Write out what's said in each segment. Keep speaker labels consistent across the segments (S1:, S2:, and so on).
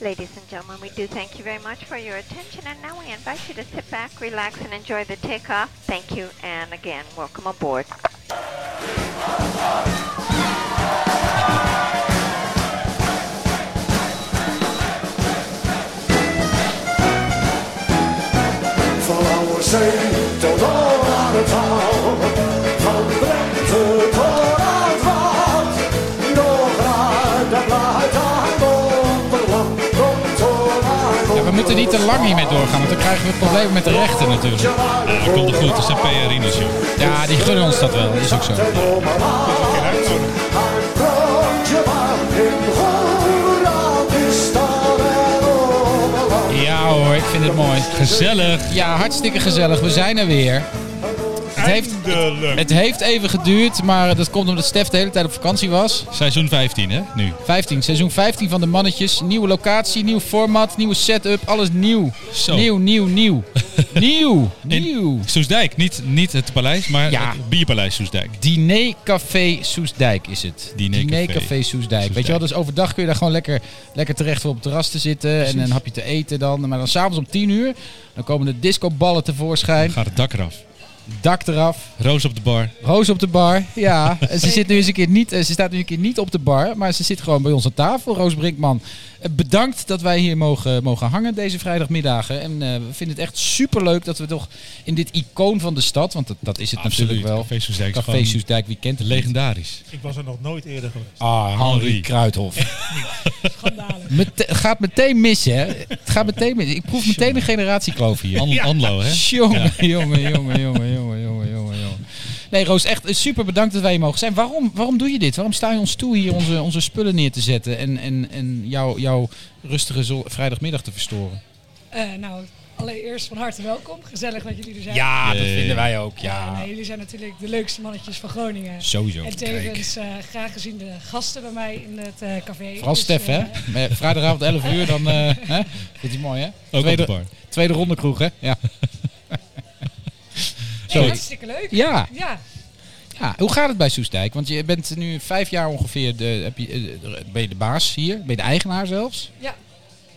S1: Ladies and gentlemen, we do thank you very much for your attention, and now we invite you to sit back, relax, and enjoy the takeoff. Thank you, and again, welcome aboard.
S2: Van oude zee tot al aan het haal. Van Drenthe tot aan het waard. Nog raar, dat blijft aan Donderland. Komt tot aan
S3: Ja, we moeten niet te lang hiermee doorgaan, want dan krijgen we problemen met de rechten natuurlijk.
S4: Ja, dat komt er goed, dat zijn PR-rieners, joh.
S3: Ja, die gunnen ons dat wel, is ook zo.
S2: e
S3: Ja hoor, ik vind het mooi.
S4: Gezellig.
S3: Ja, hartstikke gezellig. We zijn er weer. Het heeft,
S4: Eindelijk.
S3: het heeft even geduurd, maar dat komt omdat Stef de hele tijd op vakantie was.
S4: Seizoen 15, hè, nu.
S3: 15, seizoen 15 van de mannetjes. Nieuwe locatie, nieuw format, nieuwe setup, alles nieuw.
S4: Zo.
S3: Nieuw, nieuw, nieuw. nieuw,
S4: In
S3: nieuw.
S4: Soesdijk, niet, niet het paleis, maar
S3: Ja.
S4: het bierpaleis Soesdijk.
S3: Dinercafé Soesdijk is het.
S4: Dinercafé
S3: Soesdijk.
S4: Soesdijk.
S3: Weet je wel, dus overdag kun je daar gewoon lekker, lekker terecht voor op het terras te zitten en een hapje te eten dan. Maar dan s'avonds om 10 uur, dan komen de discoballen tevoorschijn.
S4: Gaat het dak eraf.
S3: Dak eraf,
S4: Roos op de bar.
S3: Roos op de bar, ja. En ze, zit nu eens een keer niet, eh, ze staat nu een keer niet op de bar, maar ze zit gewoon bij ons aan tafel. Roos Brinkman, eh, bedankt dat wij hier mogen, mogen hangen deze vrijdagmiddagen. En eh, we vinden het echt superleuk dat we toch in dit icoon van de stad, want dat, dat is het natuurlijk wel.
S4: Café Soesdijk is
S3: Café
S4: gewoon
S3: Soesdijk, wie kent het niet?
S4: legendarisch.
S5: Ik was er nog nooit eerder geweest.
S3: Ah, Henri
S4: Henri.
S3: Kruidhof.
S5: Schandalig.
S3: Mete- gaat meteen missen, hè? Het gaat meteen missen. Ik proef meteen een generatiekloof hier.
S4: An Anlo, hè?
S3: Jongen, jongen, jongen, jongen, jongen, jongen, jongen, jongen. Nee, Roos, echt eh, super bedankt dat wij hier mogen zijn. Waarom, waarom doe je dit? Waarom sta je ons toe hier onze, onze spullen neer te zetten en, en, en jouw jouw rustige zon- vrijdagmiddag te verstoren?
S6: Eh, nou, allereerst van harte welkom. Gezellig dat jullie er zijn.
S3: Ja,
S4: Ah, dat vinden
S3: wij ook,
S6: Ja, nee, jullie zijn natuurlijk de leukste mannetjes van Groningen.
S3: Sowieso.
S6: En tevens eh, graag gezien de gasten bij mij in het eh, café.
S3: Vooral
S6: Dus,
S3: Stef,
S6: eh,
S3: hè? Met Vrijdagavond 11 uur, dan... eh hè? Vindt hij mooi, hè?
S4: Ook op
S3: tweede,
S4: de bar.
S3: tweede ronde kroeg, hè? Ja.
S6: nee,
S3: Sorry.
S6: hartstikke leuk.
S3: Ja.
S6: Ja,
S3: Ja, hoe gaat het bij Soestdijk? Want je bent nu vijf jaar ongeveer de, heb je, eh, ben je de baas hier, ben je de eigenaar zelfs.
S6: ja.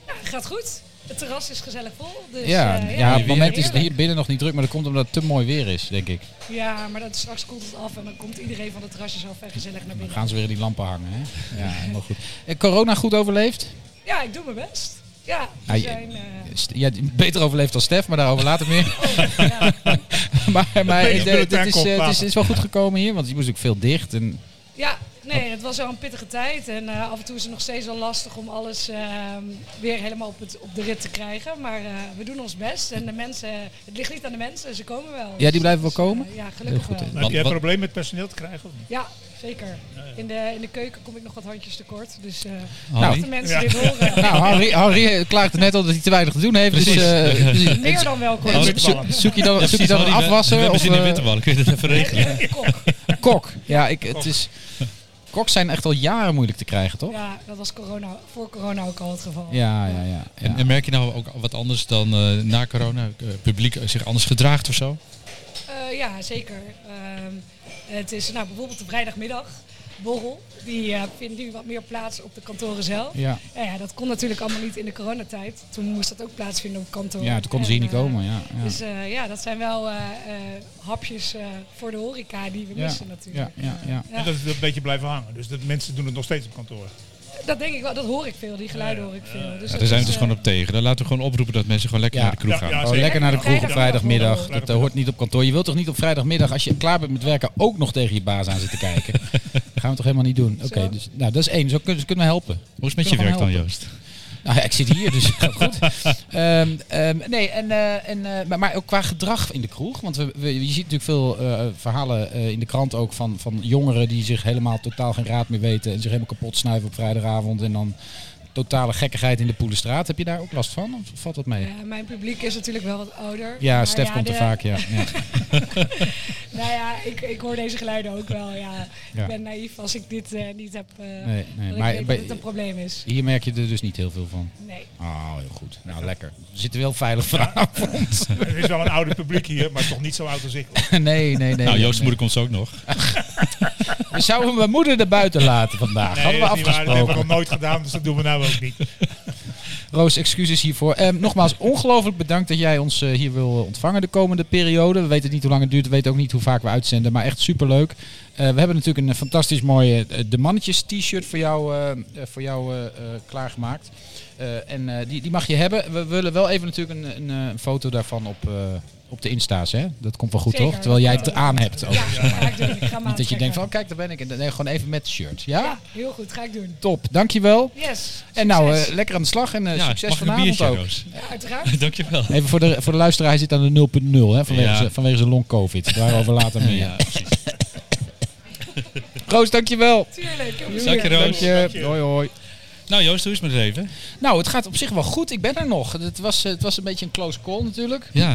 S6: Ja, gaat goed. Het terras is gezellig vol. Dus,
S3: ja,
S6: eh,
S3: ja, op het moment is het
S6: heerlijk.
S3: hier binnen nog niet druk, maar dat komt omdat het te mooi weer is, denk ik.
S6: Ja, maar dat, straks koelt het af en dan komt iedereen van de terrasjes af en gezellig naar
S3: Dan
S6: binnen.
S3: gaan ze weer in die lampen hangen. Hè? Ja, helemaal goed. Eh, corona goed overleefd?
S6: Ja, ik doe mijn best. Ja, we
S3: Ah, je-
S6: zijn... eh,
S3: St- Ja, beter overleefd dan Stef, maar daarover later meer.
S6: ja.
S3: maar maar
S5: Beetje
S3: eh,
S5: bulletin
S3: het, is, eh, het, is,
S5: koppelaten.
S3: het is wel goed gekomen hier, want je moest ook veel dicht. En,
S6: Ja, nee, het was wel een pittige tijd. En eh, af en toe is het nog steeds wel lastig om alles ehm, weer helemaal op, het, op de rit te krijgen. Maar eh, we doen ons best. En de mensen, het ligt niet aan de mensen, ze komen wel.
S3: Ja, die blijven wel
S6: Dus, eh,
S3: komen?
S6: ja, gelukkig
S3: Heel goed, hè.
S6: wel.
S5: Heb jij
S4: wat-
S5: een probleem met personeel te krijgen? Of niet?
S6: Ja, zeker. In de, in de keuken kom ik nog wat handjes tekort. Dus eh als
S4: Henri?
S6: de mensen
S5: Ja.
S6: dit horen,
S3: Oh. nou, Harry, Harry klaagde net al dat hij te weinig te doen heeft. Dus,
S4: Precies.
S3: eh, precies.
S6: meer dan welkom.
S4: Oh,
S3: Zo- zo- zoek je dan,
S4: Ja,
S3: zoek je
S4: precies,
S3: dan een
S4: Henri, we-
S3: afwasser?
S4: We hebben
S3: of,
S4: zin in
S3: eh,
S4: Wittebal, kun je dat even regelen?
S6: Kok.
S3: Kok. Ja, ik, het is. Koks zijn echt al jaren moeilijk te krijgen, toch?
S6: Ja, dat was corona, voor corona ook al het geval.
S3: Ja, ja, ja. ja.
S4: En, en merk je nou ook wat anders dan eh, na corona? Eh, publiek zich anders gedraagt of zo?
S6: Eh, ja, zeker. Ehm, het is nou, bijvoorbeeld de vrijdagmiddag borrel. Die eh, vindt nu wat meer plaats op de kantoren zelf.
S3: Ja,
S6: Nou ja, dat kon natuurlijk allemaal niet in de coronatijd. Toen moest dat ook plaatsvinden op kantoor.
S3: ja toen konden ze
S6: En,
S3: hier niet
S6: eh,
S3: komen. Ja, ja.
S6: Dus eh, ja, dat zijn wel eh, eh, hapjes eh, voor de horeca die we
S3: Ja,
S6: missen
S3: ja,
S6: natuurlijk.
S3: ja, ja.
S6: Ja.
S5: En dat is een beetje blijven hangen. Dus dat mensen doen het nog steeds op kantoor.
S6: Dat denk ik wel, dat hoor ik veel, die geluiden hoor ik veel. Dus
S4: Ja,
S6: dat
S4: daar zijn we
S6: is,
S4: dus gewoon
S6: eh,
S4: op tegen. Dan laten we gewoon oproepen dat mensen gewoon lekker
S3: Ja.
S4: naar de kroeg
S5: Ja,
S4: gaan.
S5: ja,
S3: Oh,
S5: zeker.
S3: lekker naar de kroeg op
S6: Vrijdagmiddag.
S3: vrijdagmiddag. Dat eh, hoort niet op kantoor. Je wilt toch niet op vrijdagmiddag, als je klaar bent met werken, ook nog tegen je baas aan zitten kijken? Dat gaan we toch helemaal niet doen? Oké,
S6: Zo.
S3: dus nou, dat is één. Zo kunnen, ze kunnen we helpen.
S4: Hoe is het met je
S3: Kunnen we
S4: werk dan,
S3: gewoon
S4: Joost?
S3: Nou ja, ik zit hier, dus gaat goed. Ehm, ehm, nee, en, eh, en, eh, maar, maar ook qua gedrag in de kroeg. Want we, we- je ziet natuurlijk veel eh, verhalen eh, in de krant ook van, van jongeren die zich helemaal totaal geen raad meer weten. En zich helemaal kapot snuiven op vrijdagavond. En dan totale gekkigheid in de Poelenstraat. Heb je daar ook last van? Of valt dat
S5: Eh,
S3: mee?
S6: ja, mijn publiek is natuurlijk wel wat ouder.
S3: Ja,
S5: nou
S6: Maar
S3: Stef komt
S6: de-
S3: er vaak, ja. ja.
S6: Nou ja, ik, ik hoor deze geluiden ook wel. Ja.
S3: Ja.
S6: Ik ben naïef als ik dit eh, niet heb. eh
S3: Nee, nee,
S6: dat
S3: maar
S6: ik weet
S3: bij-
S6: dat het een probleem is.
S3: Hier merk je er dus niet heel veel van.
S6: Nee.
S3: Oh, heel goed. Nou, lekker. We zitten wel veilig vanavond.
S5: Er is wel een ouder publiek hier, maar toch niet zo oud als ik.
S3: Nee, nee, nee.
S4: nou,
S3: nee,
S4: Joost
S3: nee.
S4: moeder komt ze ook nog.
S3: We zouden mijn moeder er buiten laten vandaag.
S5: Nee,
S3: Hadden we
S5: dat is niet waar. Dat hebben we
S3: afgesproken.
S5: nog nooit gedaan, dus dat doen we nou ook niet.
S3: Roos, excuses hiervoor. Ehm, nogmaals, ongelooflijk bedankt dat jij ons eh, hier wil ontvangen de komende periode. We weten niet hoe lang het duurt, we weten ook niet hoe vaak we uitzenden, maar echt superleuk. Eh, we hebben natuurlijk een fantastisch mooie eh, De Mannetjes t-shirt voor jou, eh, eh, voor jou eh, eh, klaargemaakt. Eh, en eh, die, die mag je hebben. We willen wel even natuurlijk een, een, eh, een foto daarvan op, eh, op de Insta's. Hè? Dat komt wel goed,
S6: Zeker.
S3: toch? Terwijl jij het aan hebt. Ook.
S6: Ja, ga ik doen. Ik ga
S3: Niet dat je denkt van, oh, kijk, daar ben ik. En dan- Nee, gewoon even met het shirt. Ja?
S6: Ja, heel goed. Ga ik doen.
S3: Top, dankjewel.
S6: Yes.
S3: En nou,
S6: succes.
S3: eh, lekker aan de slag en eh,
S4: Ja,
S3: succes
S4: mag ik een
S3: vanavond
S4: biertje,
S3: ook.
S4: Roos?
S6: Ja, uiteraard.
S4: Dankjewel.
S3: Even voor de, voor de luisteraar, hij zit aan de 0.0 hè, vanwege,
S4: Ja.
S3: zijn- vanwege zijn long covid. Daarover later meer.
S4: Ja, precies.
S3: Roos, dankjewel.
S6: Tuurlijk. heel
S4: Dank je,
S6: goed.
S4: Roos.
S3: Dank je. Hoi, hoi.
S4: Nou Joost, hoe is het met het leven?
S3: Nou, het gaat op zich wel goed. Ik ben er nog. Het was, eh, het was een beetje een close call natuurlijk.
S4: Ja,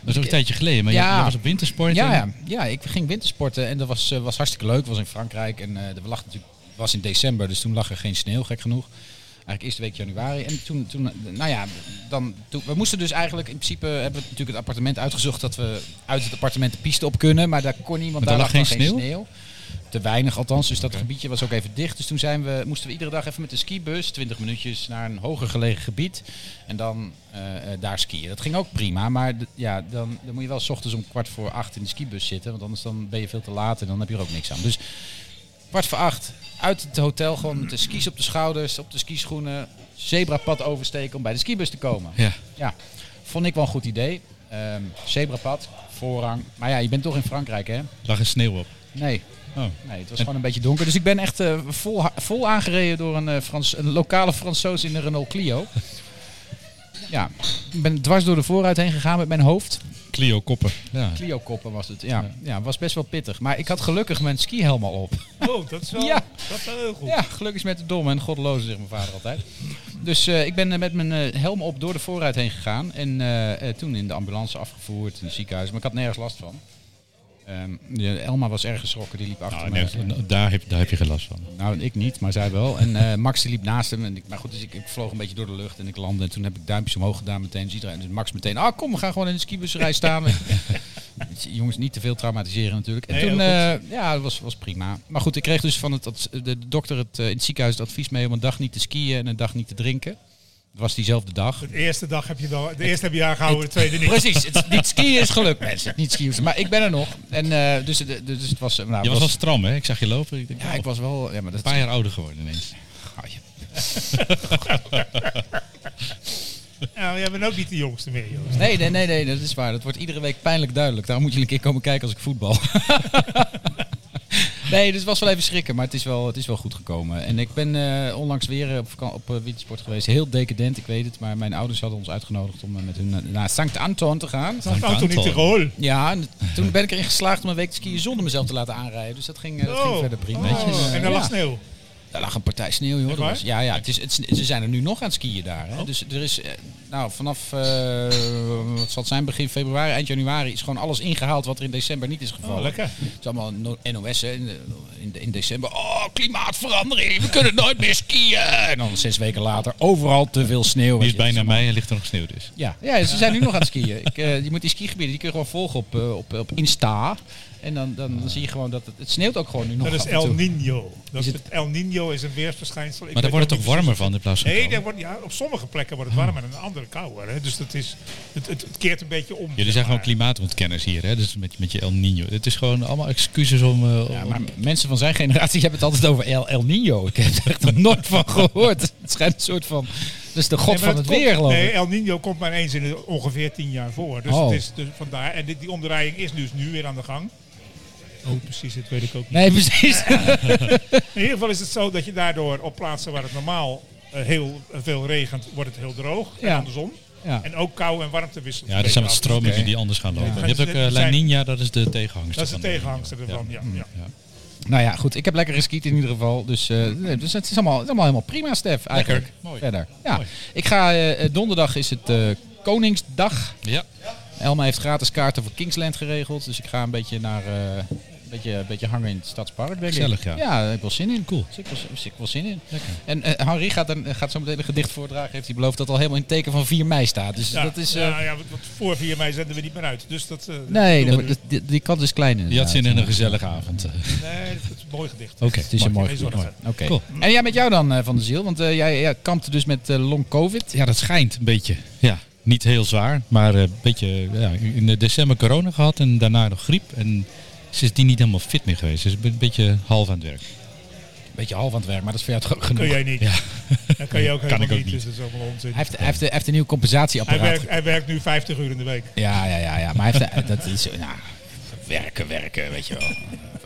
S4: dat is ook een tijdje geleden, maar
S3: Ja.
S4: ja. je was op wintersport.
S3: Ja,
S4: en-
S3: ja, ja, ik ging wintersporten en dat was, eh, was hartstikke leuk. was in Frankrijk en eh er lag natuurlijk, het was in december, dus toen lag er geen sneeuw, gek genoeg. Eigenlijk eerste week januari. En toen, toen eh, nou ja, dan, toen, we moesten dus eigenlijk, in principe hebben we natuurlijk het appartement uitgezocht dat we uit het appartement de piste op kunnen. Maar daar kon niemand,
S4: Maar
S3: daar
S4: daar
S3: lag
S4: lag
S3: nog
S4: geen
S3: geen
S4: sneeuw?
S3: sneeuw. Te weinig althans, dus dat gebiedje was ook even dicht. Dus toen zijn we, moesten we iedere dag even met de skibus, 20 minuutjes, naar een hoger gelegen gebied. En dan eh, eh, daar skiën. Dat ging ook prima, maar d- ja, dan, dan moet je wel s ochtends om kwart voor acht in de skibus zitten. Want anders dan ben je veel te laat en dan heb je er ook niks aan. Dus kwart voor acht, uit het hotel, gewoon met de skis op de schouders, op de skischoenen. Zebrapad oversteken om bij de skibus te komen.
S4: Ja.
S3: Ja, vond ik wel een goed idee. Ehm, zebrapad, voorrang. Maar ja, je bent toch in Frankrijk hè?
S4: Lag er sneeuw op.
S3: Nee,
S4: Oh.
S3: Nee, het was gewoon een beetje donker. Dus ik ben echt eh, vol, ha- vol aangereden door een, eh, Frans, een lokale Fransoos in een Renault Clio. Ja, ik ben dwars door de voorruit heen gegaan met mijn hoofd.
S4: Clio Koppen. Ja.
S3: Clio koppen was het. Ja, ja, was best wel pittig. Maar ik had gelukkig mijn skihelm al op.
S5: Oh, dat is wel,
S3: Ja.
S5: dat is wel heel goed.
S3: Ja, gelukkig is met de dom en godloze, zegt mijn vader altijd. Dus eh, ik ben eh, met mijn eh, helm op door de voorruit heen gegaan. En eh, eh, toen in de ambulance afgevoerd, in het ziekenhuis. Maar ik had nergens last van. Ehm, ja, Elma was erg geschrokken, die liep achter
S5: Ah,
S4: Nou,
S3: me.
S4: nergens- nou, daar, heb, daar heb je geen last van.
S3: Nou, ik niet, maar zij wel. En eh, Max die liep naast hem. En ik, maar goed, dus ik, ik vloog een beetje door de lucht en ik landde. En toen heb ik duimpjes omhoog gedaan meteen. Dus, iedereen, dus Max meteen, ah kom, we gaan gewoon in de skibusrij staan. Jongens, niet te veel traumatiseren natuurlijk. En
S5: Nee,
S3: toen,
S5: heel
S3: eh, ja, dat was, was prima. Maar goed, ik kreeg dus van het, ads- de dokter het, eh, in het ziekenhuis het advies mee om een dag niet te skiën en een dag niet te drinken. Dat was diezelfde dag.
S5: De eerste dag heb je wel, de eerste heb je aangehouden, de tweede niet.
S3: Precies, het, niet skiën is geluk mensen. Niet skiën. is- Maar ik ben er nog. En, eh, dus, de- dus het was... eh, Nou,
S4: Je was al stram, hè? Ik zag je lopen. Ik denk,
S3: ja,
S4: oh,
S3: ik was wel... Ja, maar dat,
S4: een paar jaar ouder geworden ineens.
S3: Ah, je-
S5: Nou, jij bent ook niet de jongste meer, Joost.
S3: Nee, nee, nee, nee, dat is waar. Dat wordt iedere week pijnlijk duidelijk. Daarom moet je een keer komen kijken als ik voetbal. nee, dus het was wel even schrikken, maar het is wel, het is wel goed gekomen. En ik ben eh, onlangs weer eh, op, vakan- op eh, wintersport geweest. Heel decadent, ik weet het. Maar mijn ouders hadden ons uitgenodigd om eh, met hun na- naar Sankt Anton te gaan.
S5: Dat auto niet te
S4: Anton.
S5: gehoor.
S3: Ja, en toen ben ik erin geslaagd om een week te skiën zonder mezelf te laten aanrijden. Dus dat ging, eh, dat ging verder prima. Dus, eh,
S5: Oh. en dan lag
S3: ja.
S5: sneeuw.
S3: Daar lag een partij sneeuw, joh.
S5: Echt
S3: Dat
S5: waar? Oh.
S3: was- ja, ja het is, het, sne- ze zijn er nu nog aan het skiën daar. Hè. Dus er is, eh, nou, vanaf, eh, wat zal het zijn, begin februari, eind januari, is gewoon alles ingehaald wat er in december niet is gevallen.
S5: Oh, lekker.
S3: Het is allemaal no- NOS, hè. In, de- in, de- in december, oh, klimaatverandering, we kunnen nooit meer skiën. En dan zes weken later, overal te veel sneeuw.
S4: Die
S3: Weet
S4: is
S3: je,
S4: bijna
S3: het
S4: mij en ligt er nog sneeuw dus.
S3: ja, ja, ze zijn nu nog aan het skiën. Ik, eh, je moet die skigebieden, die kun je gewoon volgen op, eh, op, op Insta. En dan, dan, zie je gewoon dat het, het sneeuw ook gewoon nu nog
S5: Dat is
S3: af en toe.
S5: El Nino. Dat
S3: Is
S5: is
S3: het-
S5: het El Nino is een weersverschijnsel. Ik
S4: Maar daar
S5: weet
S4: wordt het
S5: ook
S4: toch
S5: niet
S4: warmer van in plaats van
S5: precies. Nee,
S4: kouder?
S5: daar wordt, ja, op sommige plekken wordt het warmer en aan andere kouder. Hè. Dus dat is, het, het, het keert een beetje om.
S4: Jullie
S5: zeg
S4: zijn gewoon
S5: maar.
S4: klimaatontkenners hier, hè? Dus met, met je El Nino. Het is gewoon allemaal excuses om... eh,
S3: Ja,
S4: om-
S3: maar mensen van zijn generatie hebben het altijd over El, El Nino. Ik heb er echt nog nooit van gehoord. Het schijnt een soort van... Dat is de god
S5: Nee,
S3: van
S5: maar
S3: het
S5: komt-
S3: weer, geloof ik.
S5: Nee, El Nino komt maar eens in de ongeveer tien jaar voor. Dus
S3: Oh.
S5: het is dus vandaar. En dit, die omdraaiing is dus nu weer aan de gang. Oh, precies, dat weet ik ook niet.
S3: Nee, precies.
S5: In ieder geval is het zo dat je daardoor op plaatsen waar het normaal eh, heel veel regent, wordt het heel droog.
S3: Ja.
S5: En andersom.
S3: Ja.
S5: En ook kou en warmte wisselen.
S4: Ja, er zijn wat stromingen
S3: Oké.
S4: die anders gaan lopen.
S5: Ja.
S4: Je hebt ook eh, La
S5: Zijn-
S4: Nina, dat is de tegenhanger.
S5: Dat is de tegenhangster ervan, ja.
S4: Hm.
S5: ja.
S3: nou ja, goed. Ik heb lekker geskiet in ieder geval. Dus, eh, nee, dus het, is allemaal, het is allemaal helemaal prima, Stef. Eigenlijk.
S4: Mooi.
S3: Verder. Ja.
S4: Mooi.
S3: Ik ga... eh, eh, donderdag is het eh, Koningsdag.
S4: Ja,
S3: Elma heeft gratis kaarten voor Kingsland geregeld. Dus ik ga een beetje naar... eh, Beetje, beetje hangen in het stadspark, denk
S4: Gezellig,
S3: ik.
S4: ja.
S3: Ja, daar heb ik wel zin in. Cool. Ik wel, zin- ik wel zin in.
S4: Lekker.
S3: En eh, Henri gaat, dan, gaat zo meteen een gedicht voordragen. Heeft hij beloofd dat al helemaal in het teken van 4 mei staat. Dus
S5: Ja,
S3: dat is... eh,
S5: ja, ja, want want voor 4 mei zenden we niet meer uit. Dus dat... eh,
S3: Nee,
S5: dat-
S3: dat- dat- die, die kant is klein
S4: Je had
S3: inderdaad.
S4: zin in een gezellige avond. eh.
S5: nee, dat is een mooi gedicht.
S4: Oké,
S3: Het is een
S5: Maak
S3: mooi
S5: je geen
S3: gevoel.
S5: zorgen.
S3: Oké.
S4: Cool.
S3: En jij met jou dan, eh, Van de Ziel? Want eh, jij, jij kampte dus met eh, long covid.
S4: Ja, dat schijnt een beetje. Ja, niet heel zwaar, maar eh, een beetje ja, in de december corona gehad en daarna nog griep. En sindsdien niet helemaal fit meer geweest. Dus ik ben een beetje half aan het werk.
S3: Beetje half aan het werk, maar dat is voor jou toch ook
S5: Kun
S3: genoeg.
S5: jij niet.
S4: Ja.
S5: Dan kan je ook
S4: Kan
S5: helemaal
S4: ik ook
S5: niet.
S4: niet.
S5: Dus dat is allemaal onzin.
S3: Hij heeft, hij, heeft, hij heeft een nieuw compensatieapparaat.
S5: Hij werkt, hij werkt nu 50 uur in de week.
S3: Ja, ja, ja, ja. Maar hij heeft, dat is, nou, werken, werken, weet je wel.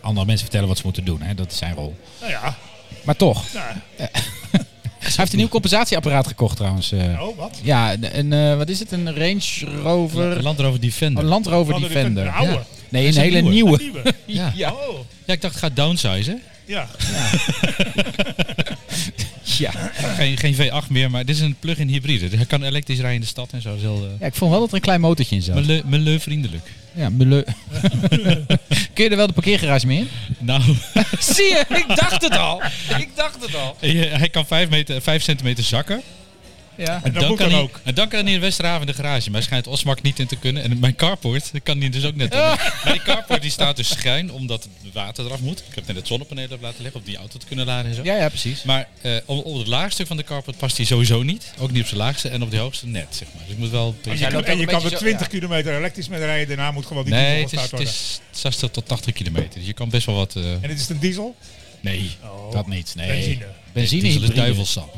S3: Andere mensen vertellen wat ze moeten doen, hè. dat is zijn rol.
S5: Nou ja,
S3: Maar toch,
S5: nou,
S3: hij heeft een nieuw compensatieapparaat gekocht trouwens. eh.
S5: oh, wat?
S3: Ja, een, een, eh, wat is het? Een Range Rover,
S4: Land Rover Defender.
S3: een Land Rover
S5: Land Rover
S3: Defender.
S5: Defender, een oude.
S3: Ja. Nee,
S4: Is
S3: een
S4: een
S3: hele
S4: nieuwe.
S3: nieuwe.
S5: Nieuwe.
S4: ja. Ja.
S3: Ja,
S5: Oh,
S4: ik dacht, ga downsizen.
S5: ja. Dus
S3: ja.
S4: Geen, geen V8 meer, maar dit is een plug-in hybride. Dus hij kan elektrisch rijden in de stad en zo. Dat is heel, eh,
S3: ja, ik vond wel dat er een klein motortje in zat.
S4: mileu- milieuvriendelijk.
S3: Ja, Mule. Kun je er wel de parkeergarage mee in?
S4: Nou,
S3: Zie je, ik dacht het al. Ik dacht het al.
S4: hij kan 5, meter, 5 centimeter zakken.
S3: Ja.
S4: En
S5: dat moet
S4: kan
S5: dan
S4: hij,
S5: ook.
S4: En dan kan hij in Westerhaven de garage. Maar hij schijnt Osmak niet in te kunnen. En mijn carport, dat kan hij dus ook net in. Maar die carport die staat dus schuin, omdat het water eraf moet. Ik heb net het zonnepaneel op laten leggen, om die auto te kunnen laden en zo.
S3: Ja, ja, precies.
S4: Maar eh, op, op het laagste van de carport past hij sowieso niet. Ook niet op zijn laagste en op de hoogste net, zeg maar. Dus ik moet wel...
S3: jij
S5: En je
S3: loopt ook
S5: kan, en je
S3: een
S5: kan
S3: beetje
S5: met
S3: zo-
S5: 20 kilometer elektrisch met rijden. Daarna moet gewoon die
S4: Nee, het is,
S5: diesel gestart
S4: het
S5: worden.
S4: is 60 tot 80 kilometer. Dus je kan best wel wat... eh,
S5: En dit is een diesel?
S4: nee,
S3: Dat niet, nee.
S5: Benzine.
S3: Benzine
S4: diesel is
S3: hybride.
S4: duivelsap.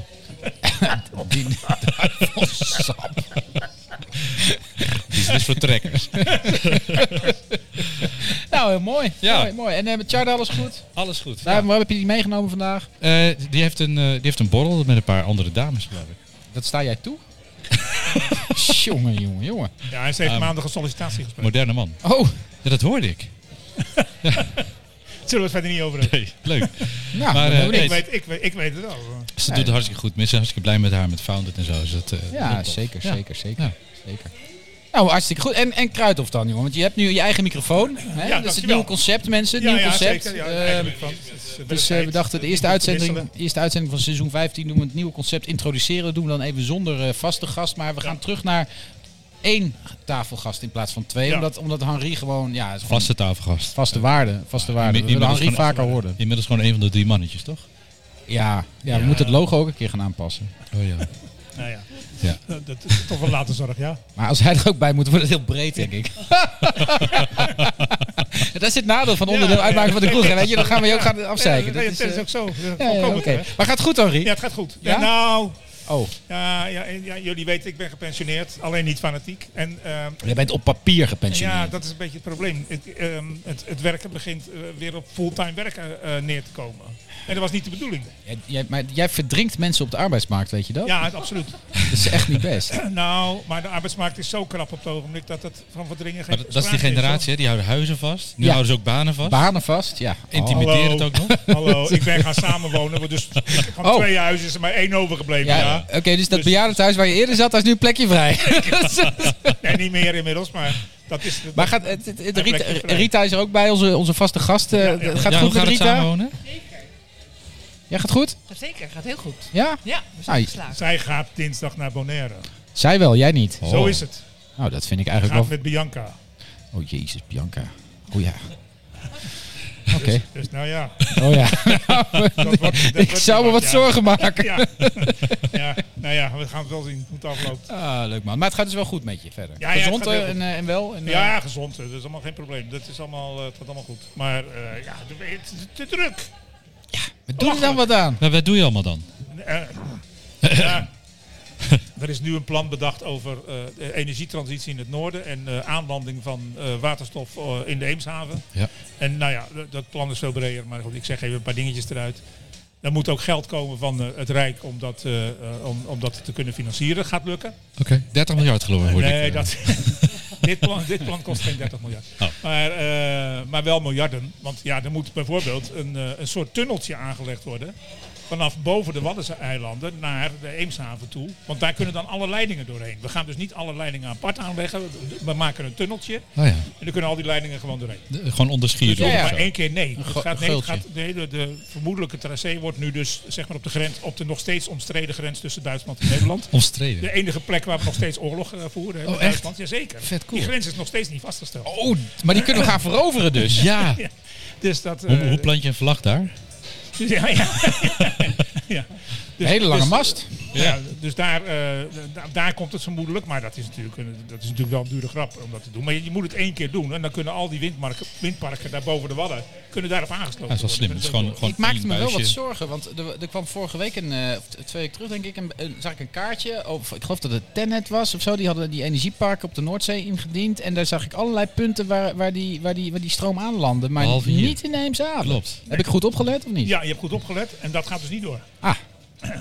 S3: Die- duivelsap.
S4: Diesel is dus voor trekkers.
S3: Nou, heel mooi.
S4: Ja.
S3: Mooi, mooi. En eh, met Chard alles goed?
S4: Alles goed.
S3: Daar,
S4: Ja.
S3: Waarom heb je die meegenomen vandaag?
S4: Eh, die, heeft een, eh, die heeft een borrel met een paar andere dames, geloof ik.
S3: Dat sta jij toe? jongen, jongen, jongen.
S5: Ja, hij is heeft
S4: Ah.
S5: maandag een sollicitatiegesprek.
S4: Moderne man.
S3: Oh,
S4: Ja, dat hoorde ik.
S5: Zullen we het verder niet over hebben?
S4: Leuk.
S3: nou,
S4: Maar,
S3: dat
S4: eh,
S3: doe ik.
S4: nee.
S5: Ik weet, ik, weet, ik weet het al.
S4: Ze doet het hartstikke goed. Mensen zijn hartstikke blij met haar, met Founded en zo. Dus dat, eh,
S3: Ja,
S4: dat is tof.
S3: zeker,
S4: Ja.
S3: zeker, zeker.
S4: Ja.
S3: Zeker. Nou, hartstikke goed. En, en Kruidhof dan, jongen. Want je hebt nu je eigen microfoon. Hè? dat is het
S5: dankjewel.
S3: nieuwe concept, mensen. Het
S5: Ja,
S3: nieuwe
S5: ja,
S3: concept.
S5: zeker. Ja,
S3: Eh,
S5: eigenlijk van, het is, eh,
S3: Dus eh,
S5: tijd.
S3: we dachten, de eerste
S5: Je moet
S3: uitzending,
S5: wisselen.
S3: eerste uitzending van seizoen 15 doen we het nieuwe concept introduceren. doen we dan even zonder eh, vaste gast. Maar we gaan terug naar één tafelgast in plaats van twee.
S5: Ja.
S3: Omdat, omdat Henri gewoon, ja, het is gewoon
S4: Vaste tafelgast.
S3: vaste waarde. Vaste waarde. We
S4: inmiddels
S3: willen Henri
S4: gewoon
S3: vaker horen.
S4: Inmiddels gewoon een van de drie mannetjes, toch?
S3: Ja, ja, we moeten het logo ook een keer gaan aanpassen.
S4: Oh ja.
S5: Nou ja.
S4: Ja.
S5: Dat, dat is toch wel later zorg, ja.
S3: Maar als hij er ook bij moet, wordt het heel breed, denk ik. dat is het nadeel van onderdeel
S5: Ja, ja.
S3: uitmaken van de kroeg. hè, Weet je, dan gaan we je ook gaan afzeiken.
S5: Ja,
S3: Dat is,
S5: dat is
S3: eh,
S5: ook zo. Dat is
S3: ja, ja,
S5: volkomen
S3: oké.
S5: terecht.
S3: Maar gaat goed, Henri?
S5: Ja, het gaat goed.
S3: Ja?
S5: Nou,
S3: Oh,
S5: ja, ja, en- ja, jullie weten, ik ben gepensioneerd. Alleen niet fanatiek. En ehm,
S3: jij bent op papier gepensioneerd.
S5: Ja, dat is een beetje het probleem. Het, ehm, het, het werken begint eh, weer op fulltime werken eh, neer te komen. En dat was niet de bedoeling.
S4: Oh.
S3: Jij- Jij, maar jij verdrinkt mensen op de arbeidsmarkt, weet je dat?
S5: Ja, het- absoluut.
S3: Dat is echt niet best.
S5: Nou, maar de arbeidsmarkt is zo krap op het ogenblik dat het van verdringen geen
S4: Maar dat, dat is die
S5: sprake
S4: generatie, hè? Die houden huizen vast. Nu
S3: Ja.
S4: houden ze ook banen vast.
S3: Banen vast, ja.
S4: Intimiteit.
S3: Oh.
S5: Hallo.
S4: Mediteren het ook nog?
S5: Hallo, ik ben gaan samenwonen. Dus van
S3: Oh.
S5: twee huizen is er maar één overgebleven. Ja.
S3: Ja, Oké, dus dat bejaardentehuis waar je eerder zat, daar is nu een plekje vrij.
S5: Nee, niet meer inmiddels, maar dat is... het.
S3: maar gaat, het, het- het- Rita,
S5: Een plekje vrij.
S3: Rita is er ook bij, onze, onze vaste gast. eh,
S5: ja.
S3: Gaat het
S4: ja,
S3: goed
S4: hoe
S3: met
S4: gaat het
S3: Rita?
S4: samenwonen?
S3: Ja, gaat goed?
S7: Zeker, gaat heel goed.
S3: Ja?
S7: Ja, we zijn
S3: Nou,
S7: geslaagd.
S5: Zij gaat dinsdag naar Bonaire.
S4: Oh.
S3: Zij wel, jij niet.
S5: Zo is het.
S3: Nou, dat vind ik eigenlijk
S5: Gaat
S3: wel...
S5: met Bianca.
S3: Oh, jezus, Bianca. Oh ja. Oké.
S5: Dus nou ja.
S3: Oh ja.
S5: Dat wordt- dat
S3: ik
S5: wordt
S3: zou me
S5: wat,
S3: wat
S5: ja.
S3: zorgen maken.
S5: Ja. ja, nou ja, we gaan het wel zien hoe het afloopt.
S3: Ah, leuk man. Maar het gaat dus wel goed met je verder.
S5: Ja, ja, het
S3: Gezond
S5: gaat heel
S3: eh, en,
S5: goed.
S3: eh, en wel. En, eh,
S5: Ja, gezond. Dat is allemaal geen probleem. Dat is allemaal, eh, het gaat allemaal goed. Maar eh, ja, het is te- te druk.
S3: Doe er dan wat aan.
S4: Maar wat doe je allemaal dan?
S5: Eh, ja. Er is nu een plan bedacht over eh, de energietransitie in het noorden en eh, aanlanding van eh, waterstof eh, in de Eemshaven.
S4: Ja.
S5: En nou ja, d- dat plan is veel breder, maar goed, ik zeg even een paar dingetjes eruit. Er moet ook geld komen van eh, het Rijk om dat, eh, eh, om, om dat te kunnen financieren. Gaat lukken.
S4: Oké, 30 miljard geloof ik. hoorde ik,
S5: Nee,
S4: eh.
S5: dat, dit, plan, dit plan kost geen 30 miljard.
S4: Oh.
S5: Maar, eh, maar wel miljarden. Want ja, er moet bijvoorbeeld een, eh, een soort tunneltje aangelegd worden. vanaf boven de Waddeneilanden naar de Eemshaven toe. Want daar kunnen dan alle leidingen doorheen. We gaan dus niet alle leidingen apart aanleggen. We- We maken een tunneltje en
S4: Oh ja.
S5: dan kunnen al die leidingen gewoon doorheen.
S4: De- gewoon onderschier
S5: Dus
S4: doen.
S5: ja,
S3: ja.
S4: of
S5: maar
S4: zo.
S5: één keer nee. Het
S3: gu-
S5: gaat, nee, het
S3: guldje.
S5: gaat- nee, de, de vermoedelijke tracé wordt nu dus zeg maar, op, de grens, op de nog steeds omstreden grens tussen Duitsland en Nederland.
S4: Omstreden.
S5: De enige plek waar we nog steeds oorlog eh, voeren. hè,
S4: Oh,
S5: met
S4: echt?
S5: Duitsland, jazeker.
S4: Vet cool.
S5: Die grens is nog steeds niet vastgesteld.
S3: Oh, maar die kunnen we gaan veroveren dus.
S4: Ja.
S5: Ja. Dus dat, eh,
S4: Hoe, hoe plant je een vlag daar?
S5: dus ja, ja. ja. Dus-
S3: Hele lange
S5: dus-
S3: mast.
S5: Ja, dus daar, eh, da- daar komt het vermoedelijk. Maar dat is, natuurlijk, een- dat is natuurlijk wel een dure grap om dat te doen. Maar je, je moet het één keer doen. En dan kunnen al die windmarken, windparken daar boven de wadden kunnen daarop aangesloten
S4: Dat is wel slim. Het
S5: worden.
S4: is gewoon, gewoon
S3: Ik maakte
S4: één
S3: me wel wat
S4: buisje.
S3: zorgen, want er, er kwam vorige week, een, eh, of t- twee weken terug denk ik, een, een- zag ik een kaartje. Of, ik geloof dat het Tennet was of zo. Die hadden die energieparken op de Noordzee ingediend. En daar zag ik allerlei punten waar, waar, die, waar, die, waar die stroom aanlandde. Maar
S4: Behalve hier.
S3: niet in Eemshaven.
S4: Klopt.
S3: Heb ik goed opgelet of niet?
S5: Ja, je hebt goed opgelet. En dat gaat dus niet door.
S3: Ah,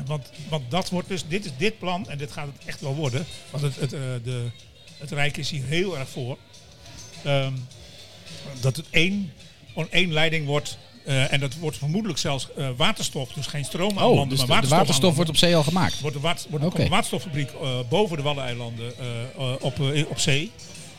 S5: Want, want dat wordt dus, dit is dit plan en dit gaat het echt wel worden. Want het, het, eh, de, het Rijk is hier heel erg voor. Ehm, dat het één, on- één leiding wordt. eh, en dat wordt vermoedelijk zelfs eh, waterstof. Dus geen stroom
S3: oh,
S5: aanlanden,
S3: dus de,
S5: maar
S3: de waterstof,
S5: waterstof,
S3: wordt op zee al gemaakt.
S5: Wordt de water, wordt
S3: Oké.
S5: komt een waterstoffabriek eh, boven de Waddeneilanden eh, eh, op, eh, op zee.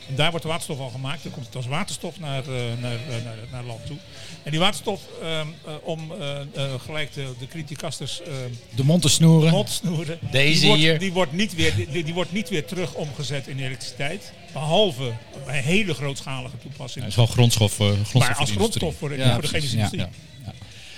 S5: En daar wordt de waterstof al gemaakt. Dan komt het als waterstof naar, eh, naar, eh, naar, naar land toe. En die waterstof, ehm, eh, om eh, eh, gelijk de, de criticasters ehm,
S3: De mond te snoeren.
S5: Motsnoeren.
S3: Deze
S5: die wordt,
S3: hier.
S5: Die wordt, niet weer, die, die wordt niet weer terug omgezet in elektriciteit. Behalve bij hele grootschalige
S4: Ja,
S5: toepassingen.
S4: het is wel grondstof, eh grondstof
S5: maar
S4: voor
S5: als
S4: de
S5: grondstof
S4: industrie.
S5: voor de,
S3: Ja,
S5: voor de chemische
S3: precies,
S5: industrie.
S3: ja,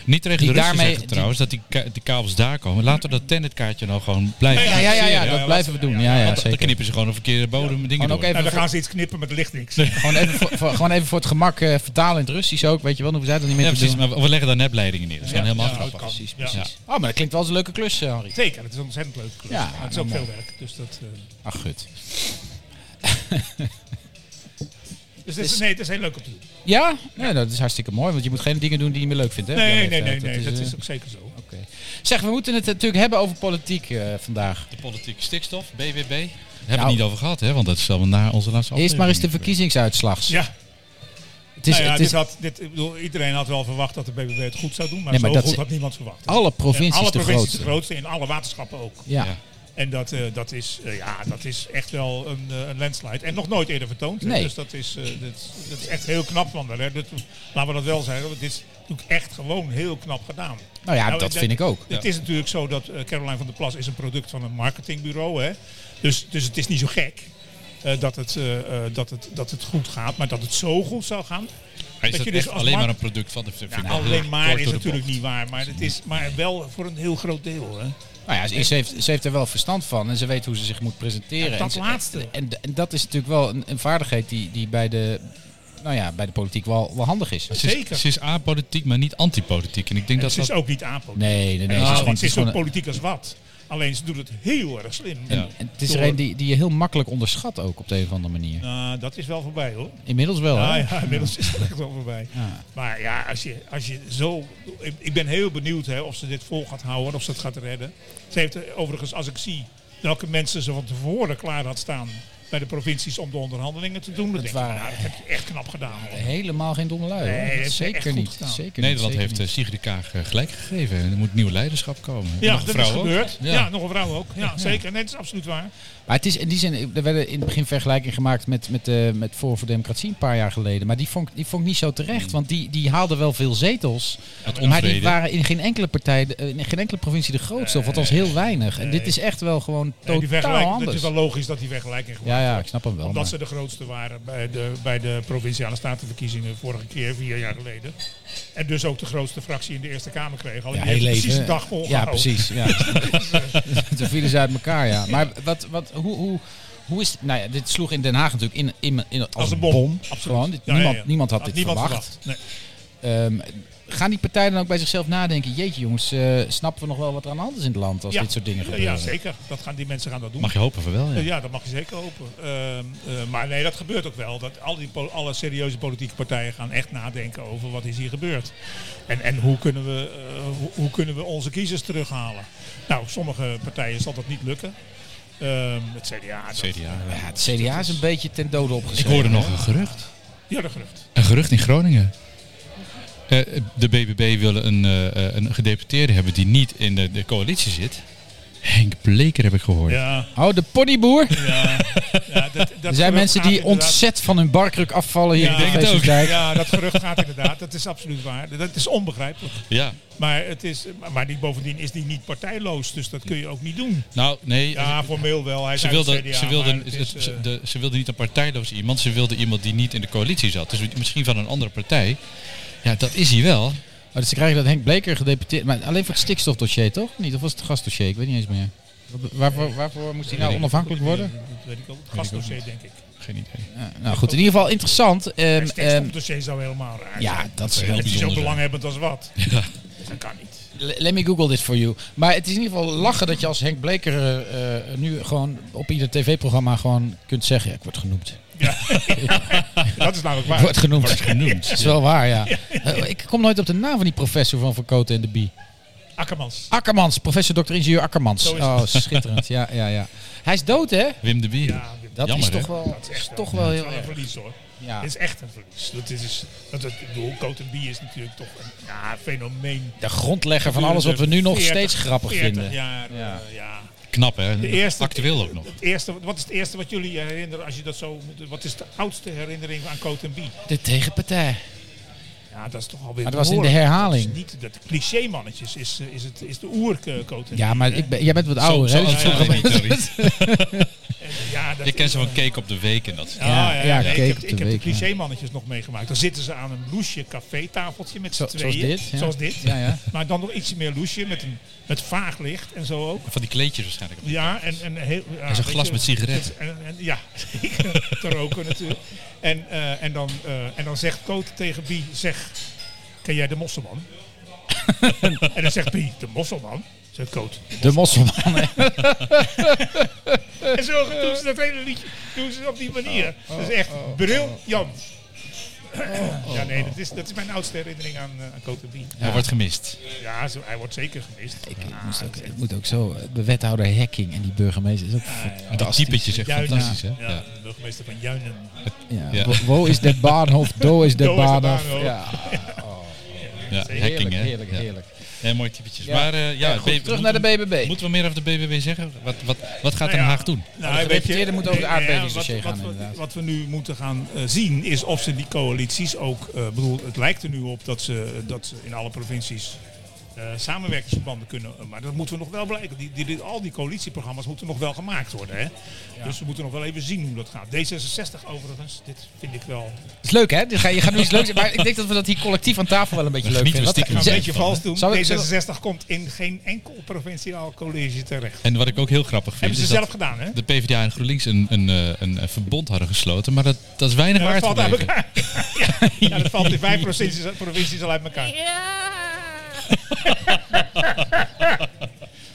S4: Niet tegen
S3: Die
S4: de Russen
S3: daarmee-
S4: zeggen trouwens dat die, ka- die kabels daar komen. Laten we dat tennetkaartje nou gewoon blijven.
S5: Nee,
S3: Ja, ja, ja,
S5: Ja,
S3: ja,
S5: ja,
S3: dat
S5: ja,
S3: blijven we
S5: wat-
S3: doen.
S5: ja,
S3: Ja, ja,
S4: Want dan
S3: zeker.
S4: knippen ze gewoon een verkeerde bodem dingen
S3: Gewoon
S4: door.
S3: ook even,
S5: En Nou, dan
S3: voor,
S5: gaan ze iets knippen, maar er ligt niks.
S3: gewoon, even voor, voor- gewoon even voor het gemak eh, vertalen in het Russisch ook. Weet je wel, dan hoeven zij dat niet
S4: Ja,
S3: meer te
S4: precies.
S3: doen.
S4: Maar we we leggen daar nepleidingen neer. Dat is gewoon
S5: Ja,
S4: helemaal
S5: ja,
S4: grappig.
S5: dat kan.
S4: Precies,
S5: Ja.
S4: precies.
S3: Oh, maar dat klinkt wel eens een leuke klus, eh, Henri.
S5: Zeker, het is een ontzettend leuke klus.
S3: Ja,
S5: maar het is
S3: nou,
S5: ook veel
S3: mooi.
S5: werk. Dus dat, eh,
S3: Ach, gut.
S5: dus dit is, nee, het is heel leuk om te doen.
S3: Ja? Nee, dat is hartstikke mooi, want je moet geen dingen doen die je niet meer leuk vindt. Hè? op jouw
S5: Nee, nee, nee,
S3: leeftijd.
S5: nee, dat
S3: eh,
S5: is ook zeker zo.
S3: oké. Zeg, we moeten het natuurlijk hebben over politiek eh, vandaag.
S4: De politieke stikstof, BBB. Daar hebben we het
S3: Nou.
S4: niet over gehad, hè? Want dat is allemaal na onze laatste
S3: Eerst maar eens de
S4: aflevering.
S3: verkiezingsuitslag.
S5: Ja,
S3: Het is,
S5: nou ja,
S3: het is
S5: dit had, dit, ik bedoel, iedereen had wel verwacht dat de BBB het goed zou doen, maar,
S3: Nee, maar
S5: zo
S3: dat
S5: goed
S3: ze-
S5: had niemand verwacht.
S3: alle
S5: En
S3: provincies
S5: alle
S3: de
S5: provincies
S3: grootste.
S5: de grootste en alle waterschappen ook.
S3: Ja.
S4: Ja.
S5: En dat, eh, dat, is, eh, ja, dat is echt wel een, eh, een landslide. En nog nooit eerder vertoond. hè.
S3: Nee.
S5: Dus dat is, eh, dat, is- dat is echt heel knap van haar. Hè. Dat, laten we dat wel zeggen. want Dit is natuurlijk echt gewoon heel knap gedaan.
S3: Nou ja, dat vind ik ook.
S5: Het is natuurlijk zo dat eh, Caroline van der Plas is een product van een marketingbureau. Hè. Dus, dus het is niet zo gek. eh, dat, het, eh, eh, dat, het, dat het goed gaat, maar dat het zo goed zou
S4: Hij
S5: gaan.
S4: is
S5: Dat
S4: dat
S5: je dus
S4: echt
S5: als
S4: alleen
S5: markt-
S4: maar een product van de vind
S5: Ja,
S4: ik wel heel
S5: alleen maar
S4: kort
S5: is
S4: door de
S5: natuurlijk
S4: bocht.
S5: niet waar, maar, het is, maar wel voor een heel groot deel. Hè.
S3: Nou ja, ze, ze heeft, ze heeft er wel verstand van en ze weet hoe ze zich moet presenteren.
S5: Ja, dat
S3: en ze-
S5: laatste.
S3: En, en dat is natuurlijk wel een, een vaardigheid die, die bij, de, nou ja, bij de politiek wel, wel handig is.
S4: Ze is-
S5: Zeker.
S4: Ze is apolitiek, maar niet antipolitiek. En ik denk
S5: En
S4: dat
S5: ze is
S4: dat...
S5: ook niet aanpoot.
S3: Nee, nee, nee.
S5: Nou,
S3: ze is gewoon,
S5: het is zo
S3: gewoon een-
S5: politiek als wat. Alleen ze doet het heel erg slim.
S4: Ja.
S3: en het is er een die, die je heel makkelijk onderschat ook op de een of andere manier.
S5: Nou, dat is wel voorbij hoor.
S3: Inmiddels wel, hè?
S5: Ja, ja, inmiddels is het echt wel voorbij. Maar ja, als je, als je zo. Ik, ik ben heel benieuwd hè, of ze dit vol gaat houden, of ze het gaat redden. Ze heeft eh, overigens, als ik zie welke mensen ze van tevoren klaar had staan bij de provincies om de onderhandelingen te doen, dan denk ik,
S3: waren-
S5: nou, dat heb je echt knap gedaan. hoor.
S3: Helemaal geen domme lui. hoor.
S5: Nee,
S3: Dat
S5: dat is echt
S3: zeker
S5: goed
S3: niet.
S5: gedaan.
S3: Zeker
S4: Nederland
S3: niet,
S4: heeft
S3: zeker
S4: eh, Sigrid de Kaag eh, gelijk gegeven. Er moet nieuw leiderschap komen. En
S5: Ja,
S4: nog een
S5: dat is
S4: vrouw ook.
S5: gebeurd. Ja.
S4: Ja.
S5: nog een vrouw ook. Ja, zeker. Nee, dat is absoluut waar.
S3: niet. Maar het is, in die zin, er werden in het begin vergelijking gemaakt met, met, eh, met Voor voor Democratie een paar jaar geleden. Maar die vond, ik- die vond ik niet zo terecht. Want die, die haalden wel veel zetels.
S4: Mm. Het
S3: maar die
S4: onvrede.
S3: waren in geen enkele partij, de- eh, in geen enkele provincie de grootste. Of althans
S4: Eh,
S3: heel weinig. En dit is echt wel gewoon
S5: Nee, die
S3: totaal
S5: vergelijking, het
S3: anders.
S5: is wel logisch dat die vergelijking gemaakt
S3: Ja, ja, ik snap hem wel.
S5: Omdat
S3: maar-
S5: ze de grootste waren bij de, bij de provinciale statenverkiezingen vorige keer, vier jaar geleden. En dus ook de grootste fractie in de Eerste Kamer kregen. Al
S3: Ja,
S5: die
S3: heel
S5: heeft
S3: even.
S5: precies een dag
S3: Ja,
S5: volgehouden.
S3: precies. Ja. Toen vielen ze uit elkaar, ja. Maar wat, wat, hoe, hoe, hoe is... Nou ja, dit sloeg in Den Haag natuurlijk in, in, in, als,
S5: Als een bom. Absoluut.
S3: Gewoon. Dit-
S5: Ja, ja,
S3: niemand,
S5: ja.
S3: niemand had
S5: Had
S3: dit
S5: niemand
S3: verwacht.
S5: Nee.
S3: Ehm, gaan die partijen dan ook bij zichzelf nadenken... Jeetje jongens, eh, snappen we nog wel wat er aan de hand is in het land... als
S5: Ja.
S3: dit soort dingen
S5: Ja,
S3: gebeuren?
S5: Ja, zeker. Dat gaan, die mensen gaan dat doen.
S4: Mag je hopen van wel, ja.
S5: Eh, Ja, dat mag je zeker hopen. Ehm, eh, maar nee, dat gebeurt ook wel. Dat al die, po- alle serieuze politieke partijen gaan echt nadenken over wat is hier gebeurd. En, en hoe, kunnen we, eh, hoe, hoe kunnen we onze kiezers terughalen? Nou, sommige partijen zal dat niet lukken. Ehm, het CDA. dat-
S4: CDA.
S3: Ja, het CDA is een beetje ten dode
S4: Ik
S3: opgeschreven.
S4: hoorde nog een gerucht.
S5: Ja, dat gerucht.
S4: Een gerucht in Groningen. Eh, de BBB willen een, eh, eh, een gedeputeerde hebben die niet in de, de coalitie zit. Henk Bleker heb ik gehoord.
S5: Ja,
S3: Oh, de ponyboer.
S5: ja, ja, dat, dat
S3: Er zijn
S5: gerucht
S3: mensen
S5: gaat
S3: die
S5: inderdaad-
S3: ontzet van hun barkruk afvallen hier
S5: Ja,
S3: in de
S5: ik denk het
S4: ook.
S3: Feestjesdijk.
S5: Ja, dat gerucht gaat inderdaad. Dat is absoluut waar. Dat is onbegrijpelijk.
S4: Ja.
S5: Maar, het is, maar die, bovendien is die niet partijloos, dus dat kun je ook niet doen.
S4: Nou, nee.
S5: Ja, formeel wel. Hij is
S4: Ze
S5: uit het
S4: wilde,
S5: CDA,
S4: ze, wilde,
S5: maar het is,
S4: het- ze-
S5: eh,
S4: de- ze wilde niet een partijloos iemand, ze wilde iemand die niet in de coalitie zat. Dus misschien van een andere partij. Ja, dat is hij wel.
S3: Oh, dus ze krijgen dat Henk Bleker gedeputeerd. Maar alleen voor het stikstofdossier, toch? Niet? Of was het het gasdossier? Ik weet niet eens meer. Wat- Waarvoor, waarvoor moest hij nou onafhankelijk worden?
S5: dat weet ik ook. Het gastdossier, denk ik.
S4: Geen idee.
S3: Ja, nou goed, in ieder geval interessant. Ehm,
S5: Het
S3: ehm,
S5: dossier zou helemaal raar
S3: ja,
S5: zijn.
S3: dat is heel
S5: Het is
S4: bijzonder
S5: zo
S4: zijn.
S5: belanghebbend als wat. Dus
S4: Ja.
S5: Dat kan niet.
S3: L- Let me google this for you. Maar het is in ieder geval lachen dat je als Henk Bleker eh, eh, nu gewoon op ieder tv-programma gewoon kunt zeggen... ja, ik word genoemd.
S5: Dat is namelijk
S3: Ik
S5: waar.
S3: word genoemd.
S4: genoemd.
S3: Dat is wel waar, ja. Eh, ik kom nooit op de naam van die professor van Van Koten en de Bie.
S5: Akkermans.
S3: Akkermans, professor dokter ingenieur Akkermans.
S5: Zo is het.
S3: Oh, schitterend. Ja, ja, ja. Hij is dood, hè?
S4: Wim de Bier.
S5: Ja, dit-
S3: Dat
S4: Jammer,
S3: is toch
S4: hè?
S3: wel,
S5: dat is echt
S3: toch wel
S5: dat is
S3: heel
S5: een
S3: erg.
S5: verlies hoor.
S3: Ja.
S5: Dit is echt een verlies. Dat is, dus- dat, dat, ik bedoel, Coat en Bie is natuurlijk toch een ja, fenomeen.
S3: De grondlegger van alles wat we nu nog steeds grappig vinden.
S5: Jaar, eh,
S3: Ja.
S5: ja.
S4: Knap hè?
S5: De eerste,
S4: Actueel ook nog.
S5: Het eerste, wat is het eerste wat jullie herinneren als je dat zo... Wat is de oudste herinnering aan Coat en Bie?
S3: De tegenpartij.
S5: Ja, dat is toch alweer
S3: Maar dat was in de
S5: behoorlijk.
S3: herhaling.
S5: Dat is niet dat cliché mannetjes is, eh, is, het, is de Eh, oercoat.
S3: Ja, maar ik ben, jij bent wat ouder,
S4: zo
S3: hè?
S4: oud zijn wij niet, Terry.
S5: eh, ja, dat
S4: Ik ken
S5: is,
S4: ze van Cake op de Week en dat.
S5: Ja, ja, ja,
S3: Ja,
S5: nee,
S3: cake op
S5: ik heb,
S3: de
S5: ik heb
S3: week,
S5: de cliché mannetjes nog meegemaakt. Dan zitten ze aan een loesje cafétafeltje met z'n
S3: Zo-
S5: tweeën.
S3: zoals dit, ja.
S5: Zoals dit.
S3: Ja, ja.
S5: Maar dan nog ietsje meer loesje met, een, met vaag licht en zo ook.
S4: Van die kleedjes waarschijnlijk.
S5: Ja, en, en heel... Ja,
S4: is een
S5: weet
S4: glas
S5: je,
S4: met sigaretten.
S5: het- en- en- ja, zeker. te roken natuurlijk. En, eh, en, dan, eh, en dan zegt Koot tegen Bie, zeg, ken jij de mosselman? en dan zegt Bie, de mosselman? Zegt Koot.
S3: Dus De mosselman. hè?
S5: En zo doen ze dat hele liedje doen ze op die manier. dat is echt briljant. ja, nee, dat is, dat is mijn oudste herinnering aan, eh aan Cote Bie.
S4: Hij wordt gemist.
S5: Ja, zo, hij wordt zeker gemist.
S3: Ik, ik moest ook, ik moet ook zo... eh, De wethouder Hacking en die burgemeester is ook...
S4: Dat typetje zegt
S5: Juinen.
S4: fantastisch hè?
S5: Ja,
S4: Ja.
S5: de burgemeester van Juinen.
S3: Ja.
S4: Ja.
S3: Wo- Wo is de Bahnhof, Do is de
S5: Do is de
S3: Bahnhof.
S5: Bahnhof.
S3: Ja,
S4: Ja,
S3: heerlijk,
S4: hacking hè?
S3: heerlijk,
S4: Ja.
S3: heerlijk.
S4: Ja, mooi typetjes.
S3: Ja.
S4: Maar eh, ja,
S3: Ja, goed,
S4: BB
S3: terug naar de
S4: moeten we-
S3: BBB.
S4: Moeten we meer over de BBB zeggen? Wat, wat, wat gaat Den
S5: Nou ja,
S4: Haag doen?
S5: Nou,
S3: de
S5: weet je,
S3: gedeputeerden moeten over het
S5: ja, ja,
S3: aardbevingsdossier
S5: wat-
S3: gaan,
S5: wat, we-
S3: inderdaad.
S5: Wat, we nu moeten gaan eh, zien is of ze die coalities ook... eh, bedoel, het lijkt er nu op dat ze, dat ze in alle provincies eh, samenwerkingsverbanden kunnen. eh, maar dat moeten we nog wel blijken. Die, die, die- al die coalitieprogramma's moeten nog wel gemaakt worden. Hè? Dus we moeten nog wel even zien hoe dat gaat. D66 overigens, dit vind ik wel...
S3: Het is leuk, hè? Dit ga- Je gaat nu iets leuks... doen, Maar ik denk dat we dat hier collectief aan tafel wel een beetje
S4: We
S3: leuk vinden.
S4: genieten we
S3: Wat-
S5: Ik ga
S4: Ja,
S5: een beetje
S4: van,
S5: vals
S4: hè?
S5: doen.
S3: Zal ik-
S5: D66 komt in geen enkel provinciaal college terecht.
S4: En wat ik ook heel grappig vind
S5: Hebben ze
S4: is
S5: zelf
S4: dat
S5: gedaan, hè?
S4: de PvdA en GroenLinks een, een, eh, een, een verbond hadden gesloten. Maar dat, dat is weinig
S5: Ja, dat
S4: waard
S5: valt uit
S4: gebleven.
S5: elkaar. ja, dat valt in vijf provincies, provincies al uit elkaar.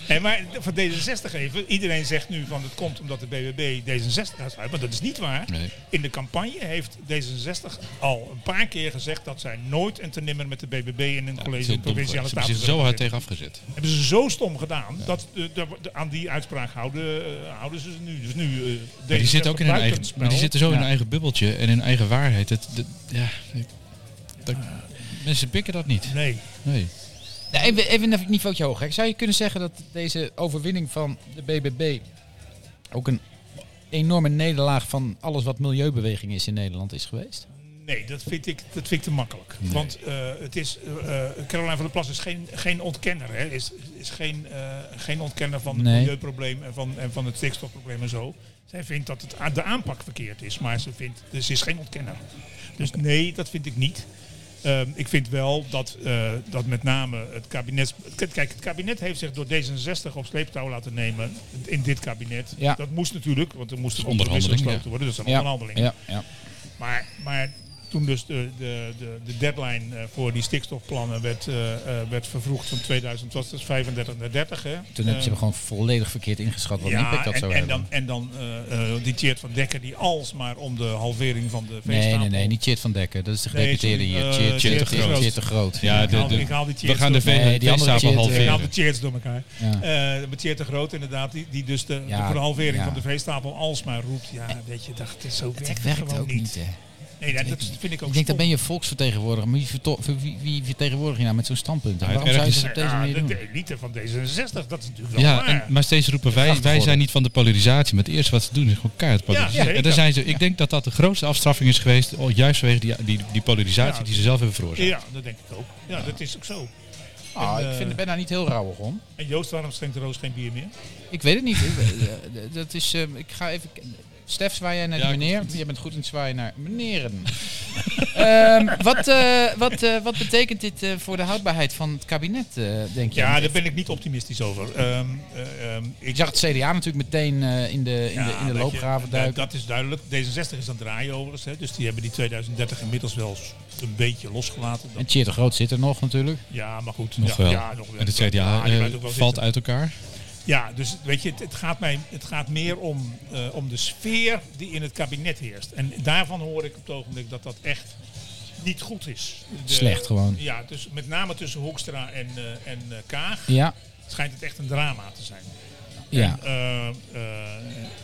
S5: Nee, maar voor D66 even. Iedereen zegt nu van het komt omdat de BBB D66 gaat sluiten. Maar dat is niet waar.
S4: Nee.
S5: In de campagne heeft D66 al een paar keer gezegd dat zij nooit en te nimmer met de BBB in een
S4: Ja, dat is
S5: college
S4: heel
S5: in
S4: dom geweest.
S5: provinciale
S4: Ze hebben
S5: staten
S4: zich zo hard
S5: zullen
S4: tegen afgezet.
S5: zitten. Hebben ze zo stom gedaan dat eh, daar wo- aan die uitspraak houden, eh, houden ze ze nu. Dus nu eh, D66
S4: Maar die zitten ook in hun eigen,
S5: buitenspel.
S4: maar die zitten zo in
S5: Ja.
S4: hun eigen bubbeltje en in hun eigen waarheid. Het, het- ja, dat- mensen pikken dat niet.
S5: Nee.
S4: Nee.
S3: Nou, even, even een niveautje hoger. Zou je kunnen zeggen dat deze overwinning van de BBB ook een enorme nederlaag van alles wat milieubeweging is in Nederland is geweest?
S5: Nee, dat vind ik, dat vind ik te makkelijk. Want eh, het is, eh, eh, Caroline van der Plas is geen, geen ontkenner. Hè. Is, is geen, eh, geen ontkenner van het
S3: Nee.
S5: milieuprobleem en van, en van het stikstofprobleem en zo. Zij vindt dat het, a- de aanpak verkeerd is, maar ze, vindt, dus ze is geen ontkenner. Dus nee, dat vind ik niet. Ehm, ik vind wel dat, eh, dat met name het kabinet... k- Kijk, het kabinet heeft zich door D66 op sleeptouw laten nemen in dit kabinet.
S3: Ja.
S5: Dat moest natuurlijk, want er moest een compromis
S4: onderhandeling,
S5: gesloten
S4: ja.
S5: worden. dus Dat is een
S3: Ja,
S5: onderhandeling.
S3: ja, ja.
S5: Maar, maar toen dus de, de, de, de deadline eh, voor die stikstofplannen werd, eh, eh, werd vervroegd van 2035 naar 30. Hè.
S3: Toen hebben ze
S5: Eh,
S3: hem gewoon volledig verkeerd ingeschat wat een impact dat
S5: en,
S3: zou
S5: en
S3: hebben.
S5: dan, en dan eh, eh, die Tjeerd van Dekker die alsmaar om de halvering van de
S3: nee,
S5: veestapel-
S3: nee, nee, niet Chit van Dekker. Dat is de
S5: Nee,
S3: gedeputeerde
S5: sorry,
S3: hier.
S5: eh,
S3: Chit,
S5: Tjeerd
S3: Chit,
S5: de
S3: Chit,
S5: Groot.
S3: Chit de Groot.
S4: Ja, de,
S5: haal-
S4: de-
S5: ik haal die
S4: we
S5: cheers
S4: gaan de
S5: door.
S4: vee-
S3: Nee, die andere
S4: veestapel
S3: cheers, eh,
S5: Ik
S4: halveren.
S5: haal nou, de Tjeerds door elkaar.
S3: Ja.
S5: Eh, met Tjeerd de Groot inderdaad, die, die dus de,
S3: Ja,
S5: voor de halvering
S3: ja.
S5: van de veestapel alsmaar roept. Ja, weet je, dacht, zo werkt
S3: Het
S5: het
S3: werkt
S5: gewoon
S3: ook niet, hè.
S5: Nee, dat, dat vind ik ook
S3: Ik denk,
S5: stom.
S3: dan ben je volksvertegenwoordiger. Maar wie, verto- wie, wie vertegenwoordig je nou met zo'n standpunt? En
S4: Ja, het
S3: waarom zou je dat
S4: ergste-
S3: op deze manier
S5: Ja,
S3: doen?
S5: de elite van D66, dat is natuurlijk wel
S4: Ja,
S5: waar.
S4: en, maar steeds roepen wij,
S3: Graag
S4: wij zijn
S3: geworden.
S4: niet van de polarisatie. Maar het eerste wat ze doen is gewoon keihard
S5: Ja,
S4: polariseren.
S5: zeker.
S4: en daar zijn ze, ik denk dat dat de grootste afstraffing is geweest. oh, Juist vanwege die, die, die polarisatie
S5: Ja.
S4: die ze zelf hebben veroorzaakt.
S5: ja, dat denk ik ook. Ja, dat is ook zo.
S3: Ah,
S5: En,
S3: ik
S5: eh,
S3: vind, ben daar niet heel rauwig om.
S5: En Joost, waarom schenkt de Roos geen bier meer?
S3: Ik weet het niet. Ik weet- eh, d- dat is, eh, ik ga even... Stef, zwaai jij naar
S4: Ja,
S3: de
S4: ik-
S3: meneer. Jij bent goed in het zwaaien naar meneren. Ehm, wat, eh, wat, eh, wat betekent dit eh, voor de houdbaarheid van het kabinet, eh, denk je?
S5: Ja, daar ben ik niet optimistisch over. Ehm, eh, ehm,
S3: Ik zag het CDA natuurlijk meteen eh, in de, in de,
S5: Ja,
S3: in de
S5: weet
S3: loopgraven
S5: je,
S3: duiken.
S5: Dat, dat is duidelijk. D66 is aan het draaien overigens. Hè. Dus die hebben die 2030 inmiddels wel s- een beetje losgelaten. Dat-
S3: En Tjeerd de Groot zit er nog natuurlijk.
S5: ja, maar goed.
S4: Nog
S5: ja,
S4: wel.
S5: Ja, nog wel.
S4: en het
S5: Ja,
S4: CDA
S5: die
S4: eh,
S5: blijft ook wel
S4: valt
S5: zitten.
S4: uit elkaar.
S5: Ja, dus weet je, het, het gaat, mij, het gaat meer om, eh, om de sfeer die in het kabinet heerst. En daarvan hoor ik op het ogenblik dat dat echt niet goed is. De-
S3: Slecht gewoon.
S5: Ja, dus met name tussen Hoekstra en, eh, en eh, Kaag
S3: Ja,
S5: schijnt het echt een drama te zijn.
S3: ja.
S5: Eh, eh,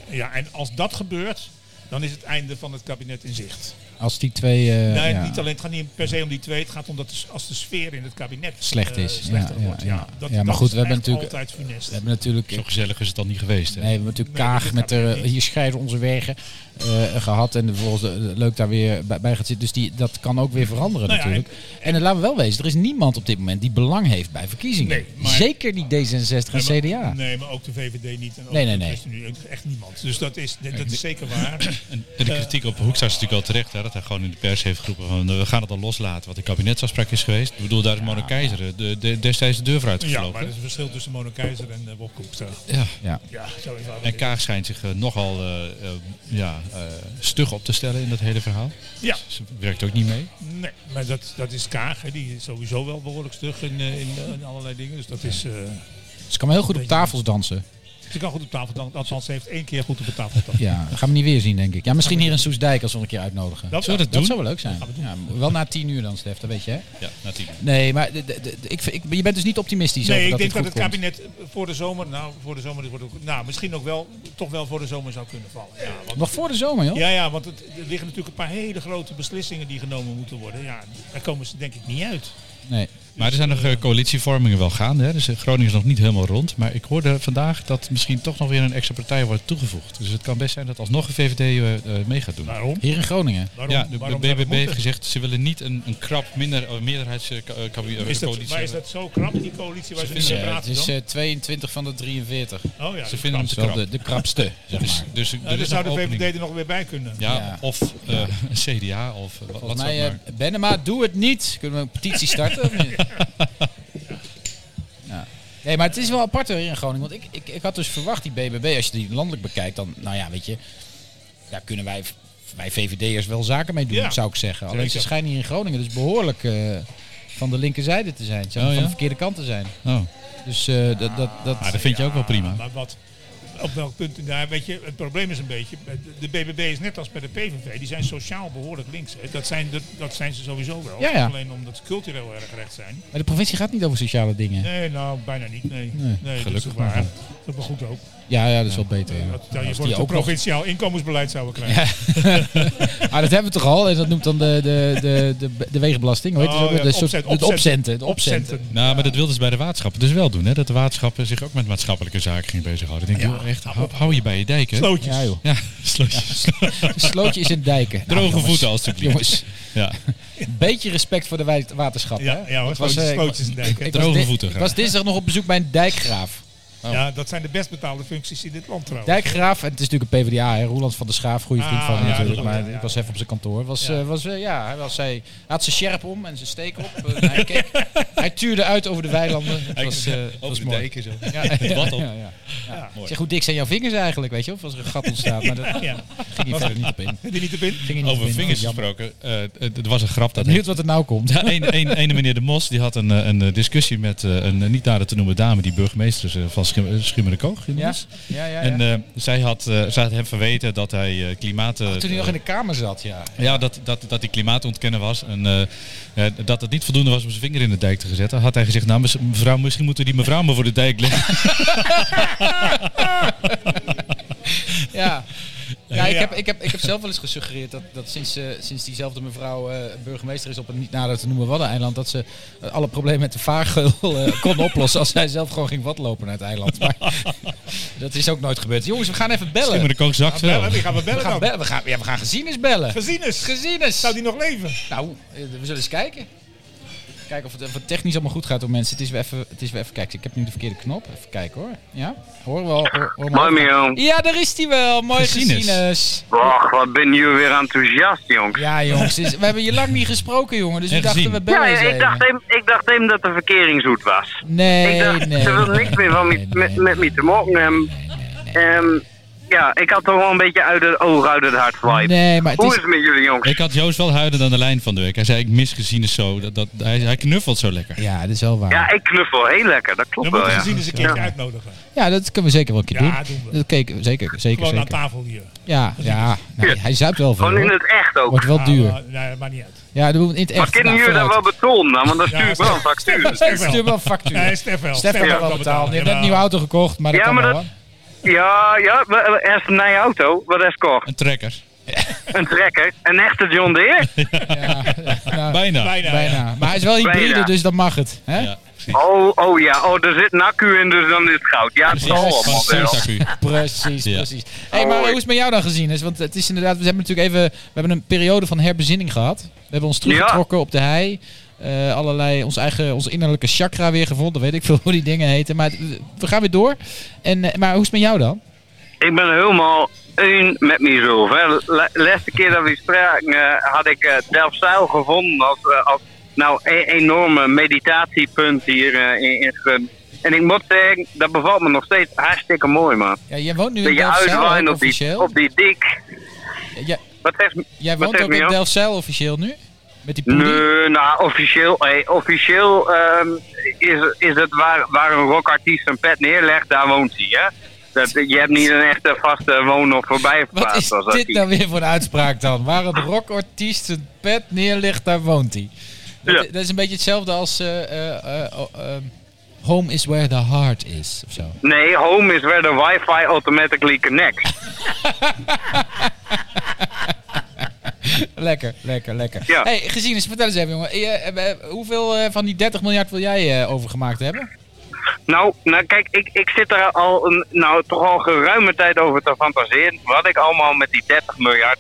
S5: ja, en als dat gebeurt, dan is het einde van het kabinet in zicht.
S3: Als die twee... eh,
S5: nee,
S3: ja.
S5: niet alleen, het gaat niet per se om die twee. Het gaat om dat de s- als de sfeer in het kabinet
S3: Slecht
S5: eh,
S3: is. Ja,
S5: slechter
S3: ja,
S5: wordt. Ja,
S3: ja.
S5: Dat,
S3: Ja, maar
S5: dat
S3: goed,
S5: is
S3: we hebben
S5: echt
S3: natuurlijk-
S5: altijd funest.
S3: We hebben natuurlijk...
S4: Zo gezellig is het dan niet geweest. Hè?
S3: Nee, we hebben natuurlijk
S5: Nee,
S3: Kaag
S5: dit
S3: met
S5: gaat
S3: de,
S5: niet.
S3: hier scheiden onze wegen eh, gehad. En vervolgens eh, leuk daar weer bij, bij gaat zitten. Dus die, dat kan ook weer veranderen
S5: Nou ja,
S3: natuurlijk. en, dan laten we wel wezen, er is niemand op dit moment die belang heeft bij verkiezingen.
S5: Nee, maar-
S3: Zeker niet D66 en
S5: Nee,
S3: CDA.
S5: maar- Nee, maar ook de VVD niet. En ook
S3: Nee, nee,
S5: de
S3: nee.
S5: ChristenUnie, echt niemand. Dus dat is, dat is zeker waar.
S4: En, en
S5: Eh.
S4: de kritiek op Hoekstra is natuurlijk al terecht. Hè, dat hij gewoon in de pers heeft geroepen van eh, we gaan het dan loslaten. Wat de kabinetsafspraak is geweest. Ik bedoel, daar is Mona Keizer eh, de, de, destijds de deur voor
S5: Ja,
S4: uitgevlogen.
S5: maar dat is een verschil tussen Mona Keizer en uh, Bob Koekstra.
S4: Ja.
S3: Ja.
S5: Ja, zo is dat.
S4: En Kaag schijnt zich eh, nogal eh, eh, ja, eh, stug op te stellen in dat hele verhaal.
S5: Ja,
S4: Ze werkt ook niet mee.
S5: nee, maar dat, dat is Kaag. Hè. Die is sowieso wel behoorlijk stug in, eh, in, eh, in allerlei dingen. Dus dat is... eh,
S3: Dus Ze kan wel heel goed op
S5: Beetje-
S3: tafels dansen.
S5: ze kan goed op tafel dansen. Althans, ze heeft één keer goed op de tafel dansen.
S3: Ja, dat gaan we niet weer zien, denk ik. Ja, misschien hier in Soesdijk als we een keer uitnodigen.
S5: Dat-
S4: Zullen we dat
S3: Dat
S4: doen?
S3: zou wel leuk zijn. Ja, wel na tien uur dan, Stef, dat weet je, hè?
S4: Ja, natuurlijk.
S3: Nee, maar de- de- de- ik, ik, je bent dus niet optimistisch
S5: Nee,
S3: over
S5: ik
S3: dat
S5: denk dat
S3: dit
S5: het
S3: goed komt.
S5: kabinet voor de zomer, nou, voor de zomer, dit wordt ook, nou, misschien ook wel, toch wel voor de zomer zou kunnen vallen. Ja, want,
S3: Nog voor de zomer, joh?
S5: ja, ja, want het, er liggen natuurlijk een paar hele grote beslissingen die genomen moeten worden. Ja, daar komen ze denk ik niet uit.
S3: Nee.
S4: Maar er zijn nog eh, coalitievormingen wel gaande. Hè? Dus eh, Groningen is nog niet helemaal rond. Maar ik hoorde vandaag dat misschien toch nog weer een extra partij wordt toegevoegd. Dus het kan best zijn dat alsnog een VVD eh, eh, mee gaat doen.
S5: Waarom?
S3: Hier in Groningen.
S5: waarom
S4: Ja, de, de
S5: waarom zou dat
S4: BBB heeft
S5: moeten?
S4: gezegd ze willen niet een, een krap minder, eh, meerderheidscoalitie
S5: Is dat,
S4: hebben.
S5: maar is dat zo krap, die coalitie waar ze nu
S4: vinden-
S5: mee
S3: Ja, het
S5: praten
S3: is
S5: dan?
S3: eh, 22 van de 43. Dat
S5: oh ja,
S4: ze vinden hem
S3: is
S4: te
S3: wel
S4: krap.
S3: de, de krapste, zeg
S4: dus
S3: maar.
S4: dus er
S5: Nou, dan
S4: is
S5: zou
S4: nog
S5: de VVD
S4: opening.
S5: er nog weer bij kunnen.
S4: Ja,
S3: Ja.
S4: of eh, een CDA of eh, wat wat
S3: Volgens
S4: zou
S3: mij,
S4: het
S3: eh, Bennema, doe het niet. Kunnen we een petitie starten? of niet? Ja. Nee, maar het is wel apart hoor hier in Groningen. Want ik, ik, ik had dus verwacht, die BBB, als je die landelijk bekijkt, dan, nou ja, weet je, daar kunnen wij, wij VVD'ers wel zaken mee doen,
S5: Ja,
S3: zou ik zeggen. Alleen ze
S5: zeker.
S3: schijnen hier in Groningen dus behoorlijk eh, van de linkerzijde te zijn. Ze zijn
S4: Oh,
S3: van
S4: ja?
S3: de verkeerde kant te zijn.
S4: maar. Oh.
S3: Dus eh, dat, dat, dat,
S4: Ah, dat vind je ook wel prima.
S5: Maar wat, op welk punt? Nou, weet je, het probleem is een beetje, de BBB is net als bij de PVV, die zijn sociaal behoorlijk links. hè. Dat zijn, de- dat zijn ze sowieso wel.
S3: Ja, ja.
S5: Alleen omdat ze cultureel erg recht zijn.
S3: Maar de provincie gaat niet over sociale dingen.
S5: Nee, nou, bijna niet. Nee,
S3: Nee,
S5: nee, gelukkig
S4: gelukkig
S5: dat is waar.
S4: maar.
S5: Dat is wel goed ook.
S3: Ja, ja, dat is wel beter. ja.
S5: Dat, stel je
S3: Als
S5: voor
S3: die
S5: dat we
S3: ook nog-
S5: provinciaal inkomensbeleid zouden krijgen.
S3: Ah, dat hebben we toch al? En dat noemt dan de, de, de, de, de wegenbelasting. Hoe heet het
S5: Oh,
S3: ook?
S5: ja,
S3: de, soort-
S5: opzet-
S3: de
S5: opzet-
S3: opcenten. De opcenten.
S5: Opzetten.
S4: Nou, maar dat wilden ze bij de waterschappen dus wel doen. Hè? Dat de waterschappen zich ook met maatschappelijke zaken gingen bezighouden. Ik denk,
S5: Ja.
S4: joh, echt, hou, hou je bij je dijken.
S5: Slootjes.
S3: Ja, joh.
S4: Ja, slootjes.
S3: Een slootje is in dijken. Nou,
S4: Droge
S3: jongens,
S4: voeten, alstublieft.
S3: Jongens,
S4: Ja.
S3: een beetje respect voor de wij- waterschap.
S5: Ja,
S3: hè?
S5: ja hoor,
S3: Ik was,
S5: slootjes,
S3: eh, ik-
S5: slootjes in Dijken.
S3: ik
S4: Droge
S3: was di-
S4: voeten
S3: Ik
S4: graag.
S3: was dinsdag nog op bezoek bij een dijkgraaf.
S5: Ja, dat zijn de best betaalde functies in dit land trouwens.
S3: Dijkgraaf, en het is natuurlijk een PvdA, hè, Roeland van der Schaaf, goede vriend
S5: Ah,
S3: van hem
S5: ja,
S3: natuurlijk.
S5: dat
S3: maar
S5: klopt, ja.
S3: ik was even op zijn kantoor. Was,
S5: Ja.
S3: eh, was, eh, ja, hij, was, hij, hij had zijn sjerp om en zijn steek op. Eh, hij, keek, hij tuurde uit over de weilanden. Het was, eh, het was mooi.
S4: zo.
S3: Ja,
S4: Wat op.
S3: ja, ja.
S5: Ja.
S3: Zeg, hoe dik zijn jouw vingers eigenlijk, weet je? Of als er een gat ontstaat. Maar dat
S5: Ja.
S3: ging hij verder niet op in.
S5: Zit je niet te binnen?
S3: Ging hij niet op
S4: Over
S3: in.
S4: vingers
S3: Jammer.
S4: gesproken. eh, het- het was een grap dat
S3: Benieuwd wat er nou komt.
S4: Ja, een, een, ene meneer De Mos die had een, eh, een eh, discussie met eh, een eh, niet nader te noemen dame, die burgemeester is, eh, van Schimmerenkoog.
S3: Ja, ja, ja. ja.
S4: En eh, zij, had, eh, zij had hem verweten dat hij eh, klimaat... eh,
S3: Ah, Toen hij nog in de kamer zat, ja.
S4: Ja, dat, dat, dat hij klimaat ontkennen was en eh, eh, dat het niet voldoende was om zijn vinger in de dijk te zetten. Had hij gezegd, nou mes- mevrouw, misschien moeten we die mevrouw maar voor de dijk leggen.
S3: Ja, ja, ik,
S5: Ja.
S3: heb, ik, heb, ik heb zelf wel eens gesuggereerd dat, dat sinds, eh, sinds diezelfde mevrouw eh, burgemeester is op het niet nader te noemen Waddeneiland, dat ze eh, alle problemen met de vaargeul eh, kon oplossen als zij zelf gewoon ging watlopen naar het eiland. Maar dat is ook nooit gebeurd. Jongens, we gaan even bellen.
S4: Slimmer de kook zakt wel.
S5: Bellen, die gaan we
S3: We
S5: bellen
S3: gaan,
S5: dan.
S3: bellen. We, gaan, ja, we gaan gezien is bellen.
S5: Gezien is.
S3: Gezien is.
S5: Zou die nog leven?
S3: Nou, eh, we zullen eens kijken. Kijken of het, of het technisch allemaal goed gaat door mensen. Het is weer even, het is weer even kijken. Ik heb nu de verkeerde knop. Even kijken hoor. Ja, hoor wel. Hoor, hoor maar.
S7: Mooi, Mio.
S3: Ja, daar is hij wel. Mooi
S4: Gezien is.
S3: gezien is.
S7: Och, wat ben je weer enthousiast, jongens.
S3: Ja, jongens, dus we hebben je lang niet gesproken, jongen. Dus
S4: En
S3: we dachten,
S4: gezien.
S3: we bellen
S7: Ja,
S3: eens
S7: ik
S3: even.
S7: dacht, hem, ik dacht hem dat de verkering zoet was.
S3: nee,
S7: ik dacht,
S3: nee.
S7: ze wil
S3: nee,
S7: niks meer van me-
S3: nee,
S7: met,
S3: nee,
S7: met me te maken hebben. Ehm, ja, ik had toch wel een beetje uit het oog, uit het hart vibe.
S3: Nee, maar het
S7: Hoe is
S3: is...
S7: het met jullie, jongens?
S4: Ik had Joost wel huiden aan de lijn van de week. Hij zei, ik mis gezien is zo. Dat, dat, hij, hij knuffelt zo lekker.
S3: Ja, dat is wel waar.
S7: Ja, ik knuffel heel lekker, dat klopt
S5: Dan moeten
S7: wel, eh, ja.
S5: we zien eens een keertje
S7: Ja.
S5: uitnodigen.
S3: Ja, dat kunnen we zeker wel een keer
S5: Ja,
S3: doen.
S5: doen we.
S3: Dat keken, zeker, zeker,
S5: Gewoon aan
S3: zeker.
S5: tafel hier.
S3: Ja, ja. Nou, hij zuipt wel veel,
S7: Gewoon in
S3: hoor.
S7: het echt ook.
S3: Wordt wel
S5: Ah,
S3: duur.
S5: maar- Nee, maar niet uit.
S3: Ja, doen we in het
S7: Maar
S3: echt. Nou,
S7: kunnen jullie daar wel betonen dan? Want dat stuur ik wel een factuur.
S3: Stuur wel een factuur.
S5: Nee, Stef wel.
S3: Stef heeft
S5: heeft
S3: al wel betaald. Je hebt net een nieuwe auto gekocht, maar dat
S7: Ja,
S3: kan
S7: maar
S3: wel.
S7: dat-
S3: hoor.
S7: Ja, ja, we- we- er is een nieuwe auto. Wat is kocht?
S4: Een trekker.
S7: Een trekker. Een echte John Deere?
S3: Ja, nou,
S4: Bijna.
S5: Bijna. ja.
S3: bijna. Maar hij is wel hybride,
S7: Bijna.
S3: dus dan mag het. Hè?
S4: Ja, precies.
S7: Oh, oh ja. Oh, er zit een accu in, dus dan is het goud. Ja, het
S4: Precies.
S7: zal
S4: Van
S7: allemaal wel.
S4: Sears-accu.
S3: Precies,
S4: Ja.
S3: precies. hey, maar hoe is het met jou dan gezien? Is? Want het is inderdaad, we hebben natuurlijk even, we hebben een periode van herbezinning gehad. We hebben ons teruggetrokken op de hei. Eh, allerlei, ons eigen, onze innerlijke chakra weer gevonden. Weet ik veel hoe die dingen heten. Maar het- we gaan weer door. En, eh, maar hoe is het met jou dan?
S7: Ik ben helemaal één met mezelf. Hè. Le- Laatste keer dat we spraken eh, had ik eh Delfzijl gevonden als, eh, als nou, een enorme meditatiepunt hier eh, in, in Gun. En ik moet zeggen, dat bevalt me nog steeds hartstikke mooi, man.
S3: Ja, jij woont nu
S7: Dat
S3: in
S7: je
S3: Delfzijl
S7: uitwijn
S3: ook
S7: op die,
S3: officieel.
S7: op die dik.
S3: Ja,
S7: Wat zegt
S3: jij
S7: wat
S3: woont
S7: zegt
S3: ook in
S7: Mio?
S3: Delfzijl officieel nu? Met die poedie?
S7: Nee, nou, officieel, hey, officieel ehm, is, is het waar, waar een rockartiest zijn pet neerlegt, daar woont hij. Hè? Dat, je hebt niet een echte vaste woon- of
S3: Wat is
S7: voorbijverplaatst. als dat
S3: dit
S7: die-
S3: nou weer voor een uitspraak dan? Waar een rockartiest zijn pet neerlegt, daar woont hij. Dat,
S7: Ja.
S3: dat is een beetje hetzelfde als eh, eh, eh, oh, ehm, Home is where the heart is, of zo.
S7: Nee, home is where the wifi automatically connects.
S3: Lekker, lekker, lekker.
S7: Ja.
S3: Hey, gezien is, vertel eens even jongen. Je, eh, eh, hoeveel eh, van die 30 miljard wil jij eh, overgemaakt hebben?
S7: Nou, nou kijk, ik, ik zit er al een, nou, toch al geruime tijd over te fantaseren. Wat ik allemaal met die 30 miljard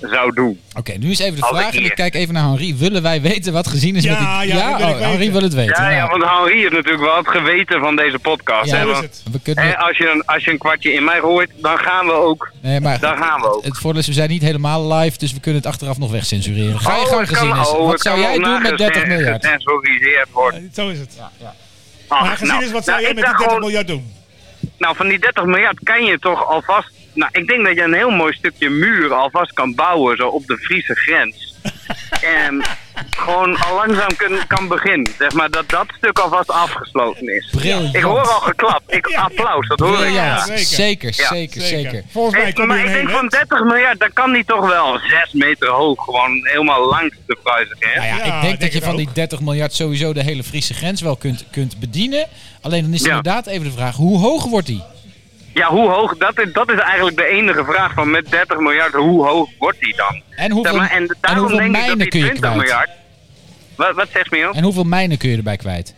S7: zou doen.
S3: Oké, nu is even de
S7: Als ik
S3: vraag. En ik
S7: hier-
S3: kijk even naar Henri. Willen wij weten wat gezien is
S5: Ja,
S3: met die...
S5: ja, dat wil ik
S3: oh, Henri
S5: weten.
S3: wil het weten.
S7: Ja, ja,
S3: Nou,
S7: want Henri heeft natuurlijk wel het geweten van deze podcast.
S3: Ja,
S7: hè,
S5: Zo is
S7: want,
S5: het.
S3: we kunnen...
S7: hè, als, je een, als je een kwartje in mij hoort, dan gaan we ook.
S3: nee, maar
S7: Daar gaan we ook.
S3: Het voordeel is, we zijn niet helemaal live, dus we kunnen het achteraf nog wegcensureren. Ga je
S7: Oh,
S3: gang
S7: het kan-
S3: gezien is.
S7: oh,
S3: Wat
S7: het
S3: zou
S7: kan
S3: jij
S7: wel
S3: doen met 30
S7: nages-
S3: miljard?
S7: gesensualiseerd worden.
S5: Eh, Zo is het.
S7: Ach,
S5: Maar gezien
S7: nou,
S5: is wat zou
S7: nou,
S5: jij
S7: ik
S5: met die
S7: dacht
S5: 30
S7: gewoon-
S5: miljard doen?
S7: Nou, van die 30 miljard kan je toch alvast. Nou, ik denk dat je een heel mooi stukje muur alvast kan bouwen, zo op de Friese grens. en gewoon al langzaam kun- kan beginnen. Zeg maar dat dat stuk alvast afgesloten is.
S3: Briljant.
S7: Ik hoor al geklap. Ik
S5: Ja, ja.
S7: applaus, dat hoor ik.
S3: Briljant.
S5: Ja,
S3: zeker,
S7: Ja,
S3: zeker, zeker.
S5: Volgens mij
S7: Ik-
S5: kom je
S7: maar ik
S5: erheen,
S7: denk
S5: hè?
S7: van 30 miljard, dan kan die toch wel 6 meter hoog, gewoon helemaal langs de Friese grens.
S3: Nou ja,
S5: Ja,
S3: ik denk
S5: denk
S3: dat je
S5: ik
S3: van
S5: ook.
S3: die 30 miljard sowieso de hele Friese grens wel kunt, kunt bedienen. Alleen dan is
S7: Ja.
S3: inderdaad even de vraag, hoe hoog wordt die?
S7: Ja, hoe hoog? Dat is, dat is eigenlijk de enige vraag van met 30 miljard, hoe hoog wordt die dan?
S3: En hoeveel,
S7: Zeg maar, en daarom
S3: hoeveel
S7: denk ik dat
S3: mijnen
S7: die
S3: kun je
S7: 20
S3: kwijt?
S7: miljard. Wat, wat zegt Miel?
S3: En hoeveel mijnen kun je erbij kwijt?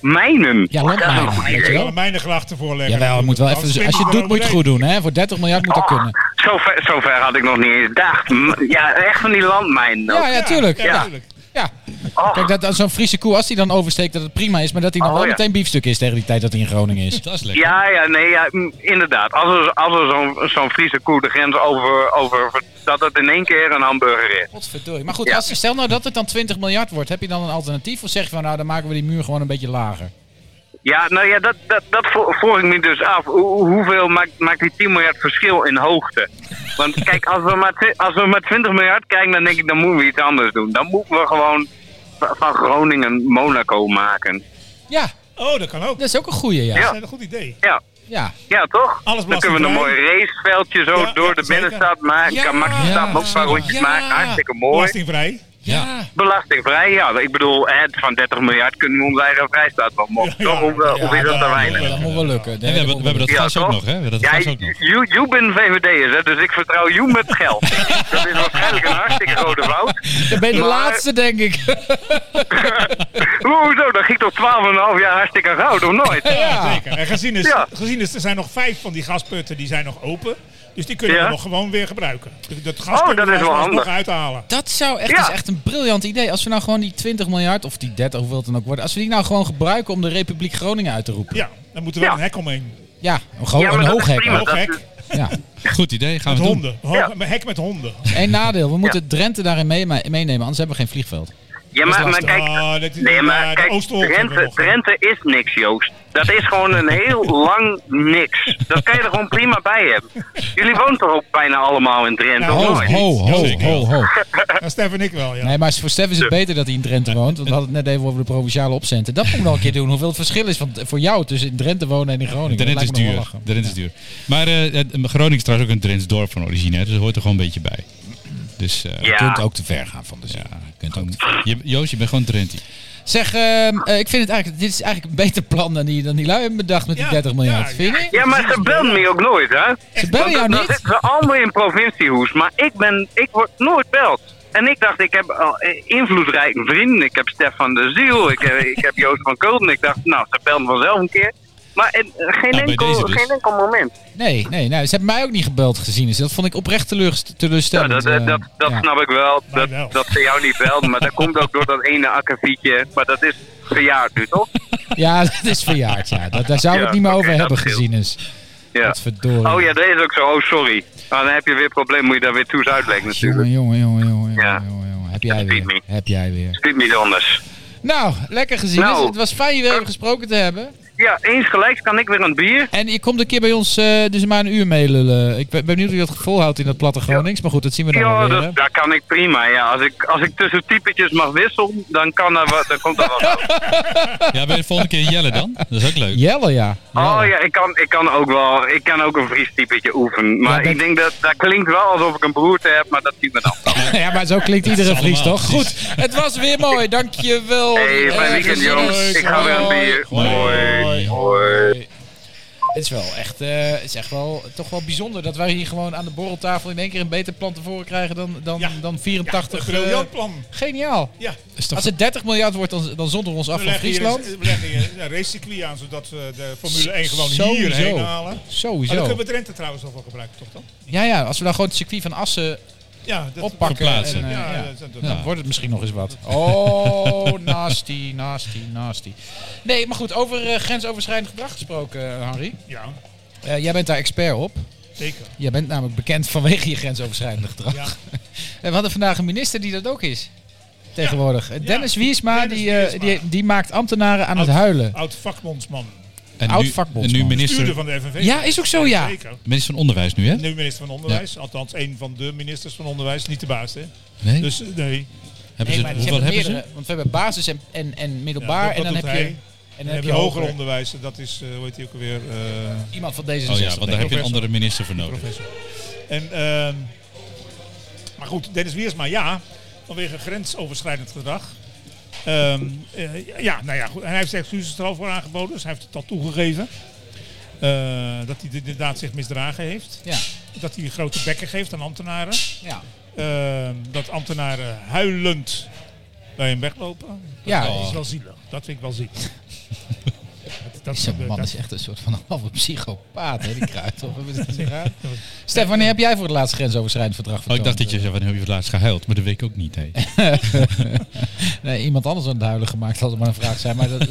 S7: Mijnen. Oh,
S3: Ja,
S7: dat is een
S3: landmijnen,
S7: goed
S3: weet je
S5: Ik
S7: idee.
S5: wil mijn grachten voorleggen.
S3: Jawel, het moet wel
S5: Anders
S3: even, als je
S5: spring
S3: het doet, moet je het
S5: eroverheen.
S3: goed doen. Hè? Voor 30 miljard moet dat kunnen.
S7: Oh, Zo ver, zo ver had ik nog niet eens gedacht. M- Ja, echt van die landmijnen. ook.
S3: Ja, ja, tuurlijk.
S5: Ja,
S3: Ja.
S5: tuurlijk.
S3: Ja.
S7: Och,
S3: Kijk, dat, dat zo'n Friese koe, als die dan oversteekt, dat het prima is. Maar dat hij dan
S7: Ah. Oh,
S3: wel
S7: ja.
S3: meteen biefstuk is tegen die tijd dat hij in Groningen is.
S4: Dat is lekker.
S7: ja, ja, nee, ja, mm, inderdaad. Als er, als er zo'n zo'n Friese koe de grens over, over... dat het in één keer een hamburger is.
S3: Godverdorie. Maar goed,
S7: Ja.
S3: als, stel nou dat het dan 20 miljard wordt. Heb je dan een alternatief? Of zeg je van, nou, dan maken we die muur gewoon een beetje lager?
S7: Ja, nou ja, dat, dat, dat vo- vroeg ik me dus af. Hoe- hoeveel maakt, maakt die 10 miljard verschil in hoogte? Want kijk, als we, maar, twi- als we maar 20 miljard kijken, dan denk ik, dan moeten we iets anders doen. Dan moeten we gewoon va- van Groningen Monaco maken.
S3: Ja,
S5: Oh, dat kan ook.
S3: dat is ook een goeie, ja.
S7: Ja.
S5: Dat is een goed idee.
S7: Ja,
S3: Ja,
S7: ja toch?
S5: Alles
S7: dan kunnen we een mooi
S5: belastingvrij.
S7: raceveldje zo
S5: Ja,
S7: door
S5: ja,
S7: de
S5: zeker.
S7: binnenstad maken.
S3: Ja,
S7: kan Max de
S3: ja,
S7: Stad ook een paar rondjes
S3: ja.
S7: maken. Hartstikke mooi.
S5: Belastingvrij.
S4: Ja.
S7: Belastingvrij, ja. Ik bedoel, hè, van 30 miljard kunnen we onze eigen vrijstaat nog mogen.
S5: Ja,
S7: toch? Of, eh, of is dat te
S5: ja,
S7: weinig?
S3: dat moet wel lukken.
S4: En we hebben, we hebben dat
S7: Ja,
S4: gas ook
S7: toch?
S4: nog, hè? We hebben dat
S7: Ja,
S4: gas ook nog.
S7: you, you bent VVD'ers, hè, dus ik vertrouw you met geld. dat is waarschijnlijk een hartstikke grote fout.
S3: Dan ben je de
S7: Maar- eh,
S3: laatste, denk ik.
S7: Hoezo, dat ging toch 12,5 jaar hartstikke goud, of nooit?
S5: Ja, zeker. En gezien is,
S7: Ja.
S5: gezien is, er zijn nog vijf van die gasputten die zijn nog open. Dus die kunnen
S7: Ja.
S5: we nog gewoon weer gebruiken. Dus Dat gas
S7: Oh,
S5: kunnen
S7: dat
S5: we
S7: is wel
S5: alsnog
S7: handig.
S5: uithalen.
S3: Dat zou echt,
S7: Ja.
S3: dat is echt een briljant idee. Als we nou gewoon die 20 miljard, of die 30, hoeveel het dan ook wordt. Als we die nou gewoon gebruiken om de Republiek Groningen uit te roepen.
S5: Ja, dan moeten we wel
S7: Ja.
S5: een hek omheen.
S3: Ja, gewoon
S7: Ja, maar
S3: Oh, een
S7: dat
S3: hoog
S7: is
S3: hek.
S7: prima.
S3: ook.
S5: Hoog
S7: dat
S5: hek
S7: is-
S3: Ja.
S4: Goed idee, gaan
S5: met
S4: we doen.
S5: honden. Hoog-
S7: Ja.
S5: Een hek met honden.
S3: Eén nadeel, we moeten Drenthe daarin mee, meenemen, anders hebben we geen vliegveld.
S7: Ja, maar, maar kijk,
S5: Ah, dat is-
S7: Nee,
S5: ja,
S7: maar
S5: de
S7: kijk,
S5: Oosterholt hebben we
S7: Drenthe,
S5: nog.
S7: Drenthe is niks, Joost. Dat is gewoon een heel lang niks. Dat kan je er gewoon prima bij hebben. Jullie woont toch ook bijna allemaal in Drenthe?
S5: Nou,
S7: of
S3: Ho,
S7: nooit?
S3: ho, ho,
S5: Jazeker.
S3: ho, ho.
S5: Ja, Stef en ik wel, ja.
S3: Nee, maar voor Stef is het beter dat hij in Drenthe woont. Want we hadden het net even over de provinciale opcenten. Dat moet ik nog een keer doen. Hoeveel het verschil is van, voor jou tussen in Drenthe wonen en in Groningen.
S4: Drenthe is
S3: Dat lijkt me nog
S4: duur.
S3: wel lachen.
S4: Drenthe is duur. Maar eh, het- Groningen is trouwens ook een Drents dorp van origine, hè, dus dat hoort er gewoon een beetje bij. Dus eh,
S7: Ja.
S3: Je kunt ook te ver gaan van de zin.
S4: ja, je kunt ook. Je, Joost, je bent gewoon Drenthe.
S3: Zeg, ehm, eh, ik vind het eigenlijk, dit is eigenlijk een beter plan dan die, dan die lui hebben bedacht met die
S5: Ja,
S3: 30 miljard.
S5: ja,
S3: Vind je?
S7: Ja, maar ze bellen me ook nooit, hè?
S3: Ze bellen jou
S7: Want Dan
S3: niet?
S7: zitten ze allemaal in provinciehoes, maar ik, ben, ik word nooit beld. En ik dacht, ik heb al eh, invloedrijke vrienden. Ik heb Stefan de Ziel, ik, heb- ik heb Joost van Kulten. Ik dacht, nou, ze bellen vanzelf een keer. Maar eh, geen,
S4: bij
S7: enkel,
S4: deze dus.
S7: geen enkel moment.
S3: Nee, nee, nee. Ze hebben mij ook niet gebeld gezien. Dus dat vond ik oprecht teleurst-
S7: Ja,
S3: teleurstellend.
S7: dat, dat,
S3: eh,
S7: dat, dat
S3: ja.
S7: snap ik wel.
S5: Mij
S7: Dat,
S5: wel.
S7: dat ze jou niet belden. Maar dat komt ook door dat ene akkefietje. Maar dat is verjaard nu, toch?
S3: Ja, dat is verjaard, ja. Dat, daar zou we
S7: Ja,
S3: het niet meer
S7: oké,
S3: over
S7: dat
S3: hebben
S7: scheelt.
S3: gezien dus is.
S7: Ja.
S3: Dat verdorie.
S7: Oh ja, dat is ook zo. Oh, sorry. Nou, dan heb je weer probleem. Moet je daar weer toes uitleggen natuurlijk.
S3: Jongen, jongen, jongen, jongen,
S7: Ja.
S3: jongen, jongen, jongen. Heb jij
S7: Piet me.
S3: weer. Heb jij weer.
S7: Het is niet anders.
S3: Nou, lekker gezien.
S7: Nou.
S3: Dus Het was fijn je weer even gesproken te hebben.
S7: Ja, eens gelijk kan ik weer een bier.
S3: En je komt een keer bij ons eh, dus maar een uur meelullen. Ik ben ben benieuwd of je dat volhoudt in dat platte Gronings. Maar goed, dat zien we dan
S7: Ja,
S3: wel weer.
S7: dat,
S3: hè.
S7: dat kan ik prima. Ja, als ik, als ik tussen typetjes mag wisselen, dan, kan er wat, dan komt er wat. uit.
S4: Ja, ben je de volgende keer Jelle dan? Dat is ook leuk.
S3: Jelle, ja. Jelle.
S7: Oh ja, ik kan, ik kan ook wel. Ik kan ook een Fries typetje oefenen. Maar
S3: Ja, dat-
S7: ik denk dat dat klinkt wel alsof ik een beroerte heb, maar dat zien we dan.
S3: ja, maar zo klinkt iedere
S4: is
S3: Fries
S4: allemaal,
S3: toch? Goed,
S4: precies.
S3: het was weer mooi. Dankjewel. Eh,
S7: Hey, fijn weekend
S3: Ergens
S7: jongens.
S3: is-
S7: Ik ga weer een bier.
S3: Hoi.
S7: Hoi. Hoi.
S3: Het is wel echt, eh, het is echt wel, toch wel bijzonder dat wij hier gewoon aan de borreltafel in één keer een beter plan te voren krijgen dan, dan,
S5: Ja.
S3: dan
S5: Ja,
S3: 84.
S5: een briljant
S3: eh,
S5: plan.
S3: geniaal.
S5: Ja.
S3: Als het 30 miljard wordt, dan, dan zonder ons af
S5: We
S3: van
S5: leggen, hier
S3: Friesland.
S5: een, we leggen hier een racecircuit aan, zodat we de Formule 1 gewoon
S3: Sowieso.
S5: hierheen halen. Maar dan
S3: Sowieso.
S5: kunnen we Drenthe trouwens nog wel gebruiken, toch dan?
S3: Ja, ja, als we dan gewoon het circuit van Assen,
S5: Ja, dat
S3: Oppakken
S5: verplaatsen.
S3: en, eh,
S5: ja,
S3: ja.
S5: dat- dat- dat-
S3: dan wordt het misschien nog eens wat. Oh, nasty, nasty, nasty. Nee, maar goed, over eh, grensoverschrijdend gedrag gesproken, eh, Henri.
S5: ja,
S3: Eh, jij bent daar expert op.
S5: zeker.
S3: Jij bent namelijk bekend vanwege je grensoverschrijdende gedrag.
S5: Ja.
S3: En we hadden vandaag een minister die dat ook is. Tegenwoordig. Eh, Dennis Wiersma,
S5: Dennis
S3: die, eh,
S5: Wiersma.
S3: Die, die maakt ambtenaren aan het
S5: Oud-
S3: huilen.
S5: Oud vakbondsman.
S4: En
S3: Oud
S4: nu, en
S3: vakbondsman.
S4: nu
S5: Stuurder
S4: minister,
S5: van de FNV.
S3: Ja, is ook zo, ja.
S5: Zeker.
S4: minister van Onderwijs nu, hè?
S5: Nu minister van Onderwijs. Althans, een van de ministers van Onderwijs. Niet de baas, hè?
S4: Nee?
S5: Dus eh, nee.
S4: hebben ze,
S3: maar
S4: hoeveel hebben
S3: meerdere,
S4: ze?
S3: Want we hebben basis en, en, en
S5: Ja,
S3: middelbaar.
S5: dat-
S3: en dan
S5: dat
S3: heb
S5: doet
S3: je,
S5: hij.
S3: en dan
S5: Dan heb je hoger onderwijs. en Dat is, eh hoe heet hij ook alweer? eh,
S3: Iemand van deze
S4: Oh ja, want daar heb je een
S5: professor.
S4: andere minister voor nodig.
S5: professor. En, ehm, maar goed, Dennis Wiersma, ja, vanwege grensoverschrijdend gedrag. Ehm, eh, ja, nou ja, goed. En hij heeft zijn excuses er al voor aangeboden, dus hij heeft het al toegegeven. Eh, dat hij inderdaad zich misdragen heeft.
S3: Ja,
S5: Dat hij grote bekken geeft aan ambtenaren.
S3: ja.
S5: Ehm, dat ambtenaren huilend bij hem weglopen.
S3: ja
S5: Dat is
S3: dat
S5: wel zielig. Dat vind ik wel zielig. dat, dat,
S3: is- Zo'n man
S5: dat-
S3: is echt een soort van halve psychopaat, hè, die kruidhof. Stef, wanneer heb jij voor het laatst grensoverschrijdend gedrag
S4: Oh,
S3: vertoond?
S4: ik dacht dat je zei, wanneer heb je voor het laatst gehuild? Maar dat weet ik ook niet, hè.
S3: Nee, iemand anders aan het huilen gemaakt had het maar een vraag zijn. Maar dat...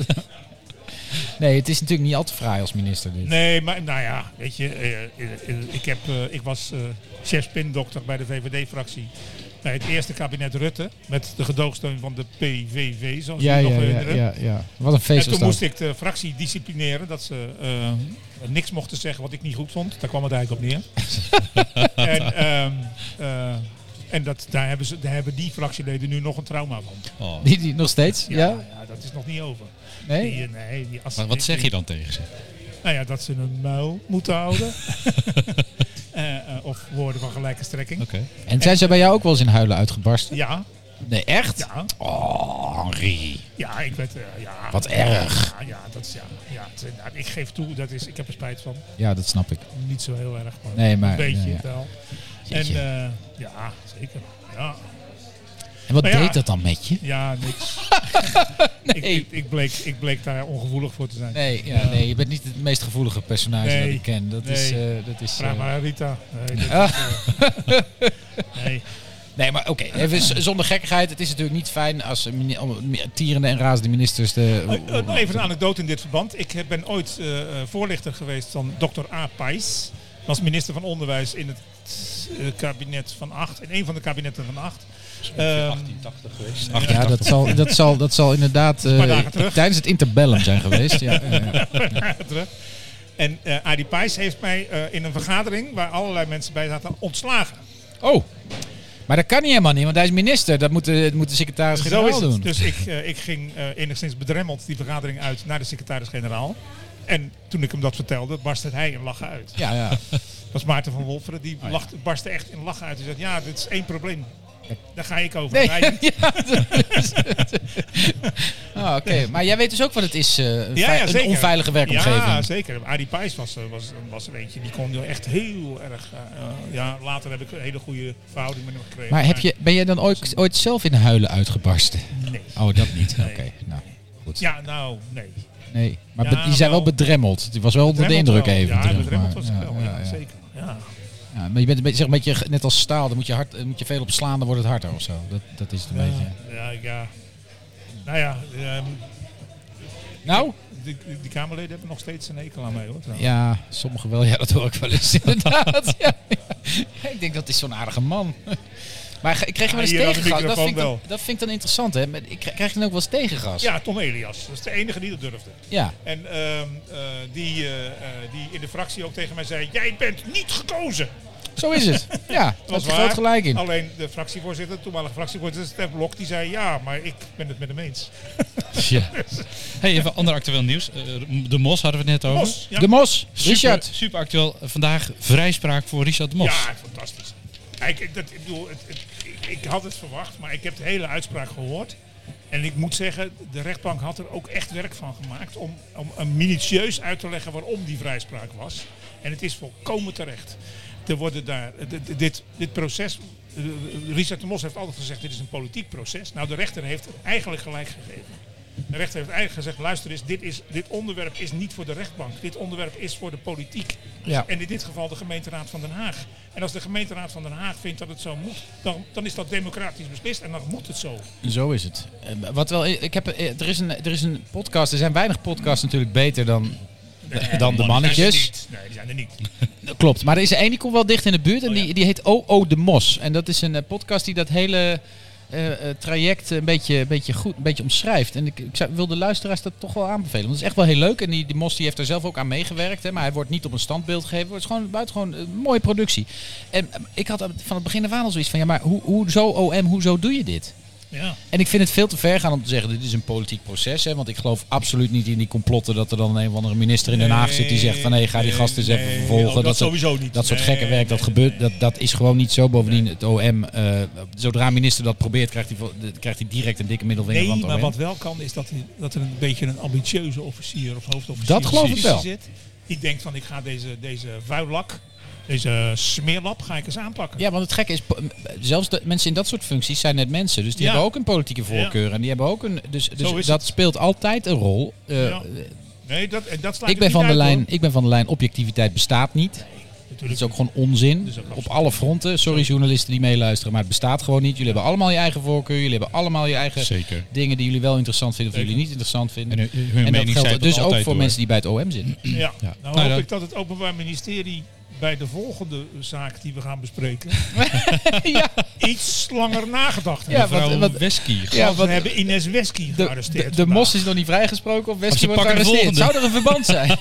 S3: nee, het is natuurlijk niet al te fraai als minister dit.
S5: Nee, maar nou ja, weet je, eh, eh, eh, ik, heb, eh, ik was eh chef spindokter bij de VVD-fractie bij het eerste kabinet Rutte met de gedoogsteun van de PVV, zoals
S3: Ja,
S5: je nog
S3: ja, ja,
S5: herinneren.
S3: ja, ja. Wat een feest
S5: En
S3: was
S5: toen
S3: dat.
S5: moest ik de fractie disciplineren dat ze eh, niks mochten zeggen wat ik niet goed vond. Daar kwam het eigenlijk op neer. en ehm, eh, en dat, daar, hebben ze, daar hebben die fractieleden nu nog een trauma van.
S4: Oh.
S3: Die, die, nog steeds? Ja?
S5: ja, dat is nog niet over.
S3: Nee?
S5: Die, eh, nee, die, als-
S4: Maar wat zeg je dan tegen ze?
S5: nou ja, dat ze een muil moeten houden. Eh, eh, of woorden van gelijke strekking.
S4: Oké.
S3: En zijn ze bij jou ook wel eens in huilen uitgebarsten?
S5: Ja,
S3: Nee, echt?
S5: Ja.
S3: Oh, Henri.
S5: Ja, ik werd... eh, ja.
S3: Wat erg.
S5: Ja, ja, dat is... Ja, ja, het is- nou, ik geef toe, dat is, ik heb er spijt van.
S3: Ja, dat snap ik.
S5: Niet zo heel erg, maar
S3: Nee, maar-
S5: een beetje
S3: ja, ja.
S5: wel. En
S3: Jeetje.
S5: eh, ja, zeker. Ja,
S3: En wat
S5: Nou ja.
S3: deed dat dan met je?
S5: ja niks. ik, ik, ik bleek, ik bleek daar ongevoelig voor te zijn.
S3: Nee, ja, nee, je bent niet het meest gevoelige personage
S5: Nee.
S3: dat ik ken. Dat is...
S5: Nee.
S3: eh, dat is
S5: Vraag
S3: eh,
S5: maar aan Rita. Nee, dat- nee.
S3: Nee, maar oké, even z- zonder gekkigheid. Het is natuurlijk niet fijn als eh, mini- om- mi- tierende en razende ministers de...
S5: Eh, eh, nog even een anekdote in dit verband. Ik heb- ben ooit eh, eh, voorlichter geweest van Dr. A. Pijs. Was minister van Onderwijs in het eh, kabinet van acht. In een van de kabinetten van acht. Ehm,
S4: 1880 geweest.
S3: Ja, dat zal, dat zal, dat zal inderdaad eh,
S5: paar dagen terug.
S3: tijdens het interbellum zijn geweest. Ja, ja, ja.
S5: Ehm, terug. En eh Adi Pijs heeft mij eh, in een vergadering waar allerlei mensen bij zaten ontslagen.
S3: Oh, maar dat kan niet helemaal niet, want hij is minister. Dat moet de, moet de secretaris-generaal doen.
S5: Dus ik, eh, ik ging eh, enigszins bedremmeld die vergadering uit naar de secretaris-generaal. En toen ik hem dat vertelde, barstte hij in lachen uit.
S3: Ja, ja.
S5: Dat was Maarten van Wolferen. Die lachte, barstte echt in lachen uit. Hij zei, ja, dit is één probleem. Daar ga ik over.
S3: Nee,
S5: Wij niet.
S3: ja, dus- oh, oké. Maar jij weet dus ook wat het is, eh, een
S5: Ja,
S3: vei-
S5: ja, zeker.
S3: een onveilige werkomgeving.
S5: Ja, zeker. Adi Pijs was, eh, was, was er eentje. Die kon echt heel erg... eh, eh, ja, later heb ik een hele goede verhouding met hem gekregen.
S3: Maar heb je, ben jij dan ooit, ooit zelf in huilen uitgebarsten?
S5: Nee.
S3: Oh, dat niet. Oké,
S5: Nee.
S3: nou, goed.
S5: Ja, nou, nee.
S3: Nee, maar
S5: Ja,
S3: be- die zijn wel
S5: wel.
S3: bedremmeld. Die was wel onder de
S5: Dremmelt
S3: indruk
S5: wel.
S3: even.
S5: Ja,
S3: zeg
S5: bedremmeld
S3: maar.
S5: was ik wel. Ja, zeker. Ja.
S3: Ja, maar je bent een beetje, zeg, een beetje ge- net als staal. Daar moet je, hard, daar moet je veel op slaan, dan wordt het harder of zo. Dat, dat is het een beetje.
S5: Ja, ja. Nou ja, ehm,
S3: Nou?
S5: die, die Kamerleden hebben nog steeds een ekel aan mij, hoor. trouwens.
S3: Ja, sommigen wel. Ja, dat hoor ik wel eens inderdaad. Ja. Ik denk dat is zo'n aardige man. Maar ge- ik kreeg je wel eens
S5: Ja, hier aan de
S3: tegengas. Dat vind, ik
S5: microfoon
S3: dan, dat vind ik dan interessant, hè? Maar Ik krijg- krijg je dan ook wel eens tegengas.
S5: Ja, Tom Elias. Dat is de enige die dat durfde.
S3: Ja.
S5: En ehm, eh, die, eh, eh, die in de fractie ook tegen mij zei: Jij bent niet gekozen.
S3: Zo is het. Ja, daar
S5: Dat
S3: had
S5: is
S3: je groot gelijk in.
S5: Alleen de fractievoorzitter, de toenmalige fractievoorzitter Stef Blok, die zei: Ja, maar ik ben het met hem eens.
S3: Ja.
S4: Hey, even ander actueel nieuws. Eh, de Mos hadden we het net over.
S5: Mos, ja.
S3: De Mos, Richard.
S4: Super, super actueel. Vandaag vrijspraak voor Richard de Mos.
S5: Ja, fantastisch. Kijk, ik, dat, ik bedoel, het, het- ik, ik had het verwacht, maar ik heb de hele uitspraak gehoord. En ik moet zeggen, de rechtbank had er ook echt werk van gemaakt om, om een minutieus uit te leggen waarom die vrijspraak was. En het is volkomen terecht. Er worden daar, dit, dit, dit proces, eh, Richard de Mos heeft altijd gezegd, dit is een politiek proces. Nou, de rechter heeft eigenlijk gelijk gegeven. De rechter heeft eigenlijk gezegd, luister eens, dit, is, dit onderwerp is niet voor de rechtbank. Dit onderwerp is voor de politiek.
S3: Ja.
S5: En in dit geval de gemeenteraad van Den Haag. En als de gemeenteraad van Den Haag vindt dat het zo moet, dan, dan is dat democratisch beslist en dan moet het zo.
S3: Zo is het. Eh, Wat wel, ik heb, eh, er, is een, er is een podcast. Er zijn weinig podcasts natuurlijk beter dan, dan de mannetjes.
S5: Niet. Nee, die zijn er niet.
S3: Klopt, maar er is er één die komt wel dicht in de buurt en die, die heet OO de Mos. En dat is een eh, podcast die dat hele eh, eh, traject een beetje, een beetje goed een beetje omschrijft. En ik, ik zou, wil de luisteraars dat toch wel aanbevelen. Want het is echt wel heel leuk. En die, die Mos die heeft er zelf ook aan meegewerkt. Hè, maar hij wordt niet op een standbeeld gegeven. Het is gewoon buitengewoon een mooie productie. En eh, ik had van het begin af aan al zoiets van... Ja, maar hoe, hoezo OM, hoezo doe je dit?
S5: Ja.
S3: En ik vind het veel te ver gaan om te zeggen, dit is een politiek proces. Hè, want ik geloof absoluut niet in die complotten dat er dan een of andere minister in Den Haag zit die zegt van hé, ga die
S5: Nee,
S3: gast eens even
S5: nee,
S3: vervolgen.
S5: oh, dat
S3: soort-
S5: sowieso niet.
S3: Dat soort
S5: Nee,
S3: gekke werk, dat
S5: nee,
S3: gebeurt, dat, dat is gewoon niet zo. Bovendien, het OM, eh, zodra een minister dat probeert, krijgt hij, vo- de- krijgt hij direct een dikke middelvinger
S5: Nee,
S3: van het
S5: maar
S3: OM.
S5: wat wel kan is dat, die- dat er een beetje een ambitieuze officier of hoofdofficier
S3: Dat geloof ik
S5: precies
S3: wel.
S5: zit. Die denkt van ik ga deze, deze vuilak, deze smeerlap ga ik eens aanpakken.
S3: Ja, want het gekke is, po- m- zelfs de mensen in dat soort functies zijn net mensen. Dus die
S5: Ja.
S3: hebben ook een politieke voorkeur. En die hebben ook een. Dus,
S5: Zo
S3: dus
S5: is
S3: dat speelt altijd een rol. Eh,
S5: Ja. Nee, dat, en dat slaat
S3: ik, ben
S5: niet
S3: van de
S5: uit,
S3: lijn,
S5: hoor.
S3: ik ben van de lijn, objectiviteit bestaat niet. Dat
S5: Natuurlijk.
S3: is ook gewoon onzin.
S5: is ook
S3: Op
S5: absoluut.
S3: alle fronten. Sorry journalisten die meeluisteren, maar het bestaat gewoon niet. Jullie hebben allemaal je eigen voorkeur. Jullie hebben allemaal je eigen
S4: Zeker.
S3: dingen die jullie wel interessant vinden of
S5: Zeker. eh,
S3: jullie niet interessant vinden.
S4: En hun- hun mening zijpelt
S3: dus ook voor
S4: altijd door.
S3: mensen die bij het OM zitten.
S5: Ja.
S3: Ja.
S5: Nou
S4: Nou,
S5: hoop
S4: dat-
S5: ik dat het Openbaar Ministerie bij de volgende zaak die we gaan bespreken
S3: ja,
S5: iets langer nagedacht heeft.
S3: ja,
S4: Mevrouw
S3: wat, wat,
S4: Wesky.
S3: ja,
S5: Want
S3: wat,
S5: we hebben Ines Wesky
S3: Oh, de,
S5: gearresteerd.
S3: de, de
S5: vandaag.
S3: mos is nog niet vrijgesproken of
S4: ze
S3: Westie wordt
S4: pakken de
S3: gearresteerd. Zou
S4: volgende.
S3: er een verband zijn?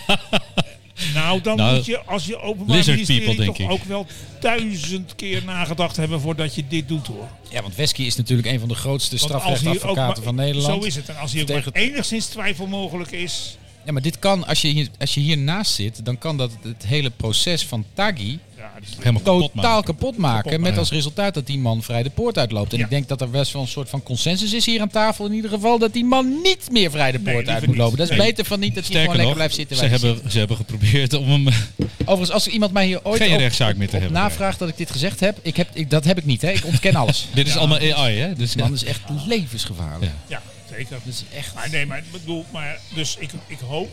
S5: Nou, dan
S4: Nou,
S5: moet je als je openbaar
S4: lizard
S5: ministerie
S4: people,
S5: toch
S4: denk ik.
S5: ook wel duizend keer nagedacht hebben voordat je dit doet, hoor.
S3: ja, want Wesky is natuurlijk een van de grootste
S5: Want als hier ook
S3: strafrechtadvocaten
S5: maar-
S3: van Nederland.
S5: Zo is het. En als hier ook
S3: Tegen-
S5: maar enigszins twijfel mogelijk is,
S3: Ja, maar dit kan, als je, hier, als je hiernaast zit, dan kan dat het hele proces van Taggi
S5: Ja, dus-
S4: Helemaal kapot maken.
S3: totaal kapot maken.
S5: Kapot
S3: met
S5: maken.
S3: als resultaat dat die man vrij de poort uitloopt. En
S5: Ja.
S3: ik denk dat er best wel een soort van consensus is hier aan tafel. In ieder geval dat die man niet meer vrij de
S5: Nee,
S3: poort uit
S5: liever
S3: moet
S5: niet.
S3: lopen. Dat is
S5: Nee.
S3: beter van niet dat hij gewoon lekker
S4: Sterker nog,
S3: blijft zitten.
S4: ze
S3: waar hij
S4: hebben, ze hebben geprobeerd om hem
S3: zit. Overigens, als iemand mij hier ooit
S4: geen
S3: op-
S4: rechtszaak meer te
S3: op
S4: hebben.
S3: navraagt dat ik dit gezegd heb, ik heb ik, dat heb ik niet. Hè. Ik ontken alles.
S4: Dit is allemaal AI, hè? Dus
S3: Die man
S4: ja.
S3: is echt levensgevaarlijk.
S4: Ja.
S5: ja, zeker.
S3: Dat is echt...
S5: Maar nee, maar ik bedoel, maar dus ik, ik hoop,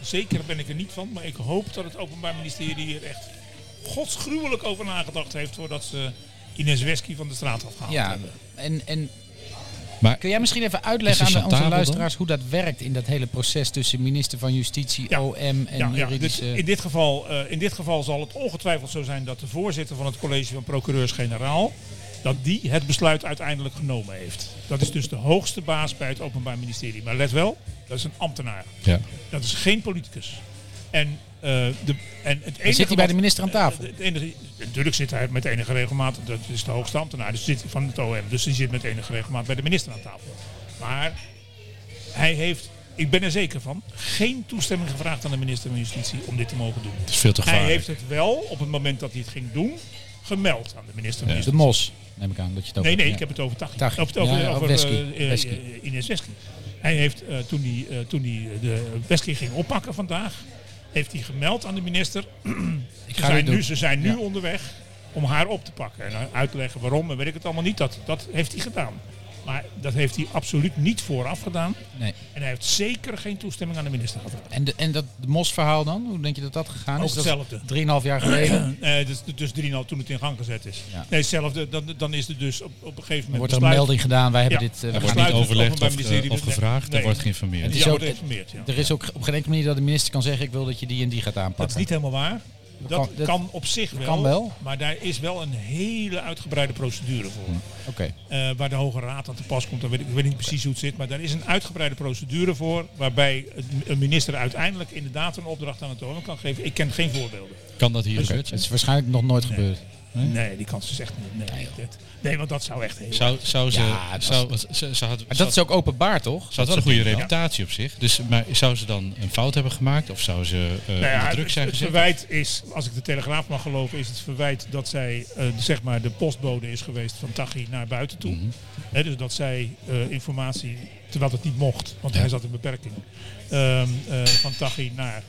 S5: zeker ben ik er niet van, maar ik hoop dat het Openbaar Ministerie hier echt godsgruwelijk over nagedacht heeft voordat ze Ines Wesky van de straat afhaalt.
S3: Ja, en, en
S4: Maar-
S3: kun jij misschien even
S4: Is
S3: uitleggen
S4: die
S3: aan onze
S4: chantabel dan?
S3: luisteraars hoe dat werkt in dat hele proces tussen minister van Justitie,
S5: Ja.
S3: OM en
S5: Ja, ja,
S3: juridische...
S5: dit- in, dit geval, eh, in dit geval zal het ongetwijfeld zo zijn dat de voorzitter van het college van procureurs-generaal, dat die het besluit uiteindelijk genomen heeft. Dat is dus de hoogste baas bij het Openbaar Ministerie. Maar let wel, dat is een ambtenaar.
S4: Ja.
S5: Dat is geen politicus. En, eh, de, en het enige
S3: Dan zit hij bij
S5: wat- Eh,
S3: de minister aan tafel.
S5: Het enige, natuurlijk zit hij met enige regelmaat, dat is de hoogste ambtenaar dus zit van het OM, dus die zit met enige regelmaat bij de minister aan tafel. Maar hij heeft, ik ben er zeker van, geen toestemming gevraagd aan de minister van Justitie om dit te mogen doen.
S4: Het is veel te
S5: Hij
S4: gevaarlijk.
S5: heeft het wel, op het moment dat hij het ging doen, gemeld aan de minister van
S3: De
S5: Justitie.
S3: mos, neem ik aan dat je het over
S5: Nee, nee,
S3: ja.
S5: ik heb het over Taghi.
S3: Taghi.
S5: Of het over,
S3: Ja, ja,
S5: over
S3: Wesky.
S5: eh, eh,
S3: Wesky.
S5: eh, Ines Wesky. Hij heeft eh, toen hij, eh, toen hij eh, de Wesky ging oppakken vandaag, heeft hij gemeld aan de minister.
S3: Ik
S5: Ze
S3: ga dit
S5: zijn,
S3: doen.
S5: nu, ze zijn nu
S3: Ja.
S5: onderweg om haar op te pakken. En eh, uit te leggen waarom en weet ik het allemaal niet. Dat, dat heeft hij gedaan. Maar dat heeft hij absoluut niet vooraf gedaan.
S3: Nee.
S5: En hij heeft zeker geen toestemming aan de minister gevraagd.
S3: En, de, en dat mos-verhaal dan? Hoe denk je dat dat gegaan
S5: Ook
S3: is? Dat is
S5: hetzelfde.
S3: Drieënhalf jaar geleden.
S5: Eh, dus dus 3,5 toen het in gang gezet is.
S3: Ja.
S5: Nee, hetzelfde. Dan, dan is er dus op, op een gegeven moment
S3: Er wordt er een
S5: besluit-
S3: melding gedaan, wij hebben
S5: Ja.
S3: dit... eh,
S5: Er
S3: we
S4: wordt
S3: gaan
S4: niet
S5: besluit het
S4: overlegd
S5: Openbaar
S4: of, ge-
S5: Ministerie
S4: of
S5: doet-
S4: gevraagd,
S5: Nee.
S4: er wordt geïnformeerd.
S3: Het
S5: Ja,
S3: is
S5: wordt
S3: ook-
S5: geïnformeerd. Ja.
S3: niet- er is ook op een enkele manier dat de minister kan zeggen, ik wil dat je die en die gaat aanpakken.
S5: Dat is niet helemaal waar. Dat,
S3: kan- dat-
S5: kan op zich wel,
S3: kan wel.
S5: Maar daar is wel een hele uitgebreide procedure voor.
S3: Oké,
S5: Eh, waar de Hoge Raad aan te pas komt. Dan weet ik, ik weet niet precies hoe het zit. Maar daar is een uitgebreide procedure voor. Waarbij het- een minister uiteindelijk inderdaad een opdracht aan het OM kan geven. Ik ken geen voorbeelden.
S4: Kan dat hier gebeurd
S3: het
S4: zijn?
S3: is waarschijnlijk nog nooit gebeurd.
S5: Nee, die kans is echt niet. Nee, dat- nee want dat zou echt heel.
S4: Zou, zou ze,
S3: Ja, het was-
S4: zou, ze, ze, ze had,
S3: Maar
S4: ze
S3: dat
S4: had-
S3: is ook openbaar, toch?
S4: ze had wel een goede reputatie op zich. Dus, maar zou ze dan een fout hebben gemaakt? Of zou ze eh
S5: Nou ja,
S4: onder druk
S5: het,
S4: zijn
S5: het
S4: gezet?
S5: verwijt is, als ik de Telegraaf mag geloven, is het verwijt dat zij eh, zeg maar de postbode is geweest van Taghi naar buiten toe.
S4: Mhm.
S5: Hè, dus dat zij eh, informatie, terwijl het niet mocht, want
S4: Ja.
S5: hij zat in beperking, ehm, eh, van Taghi naar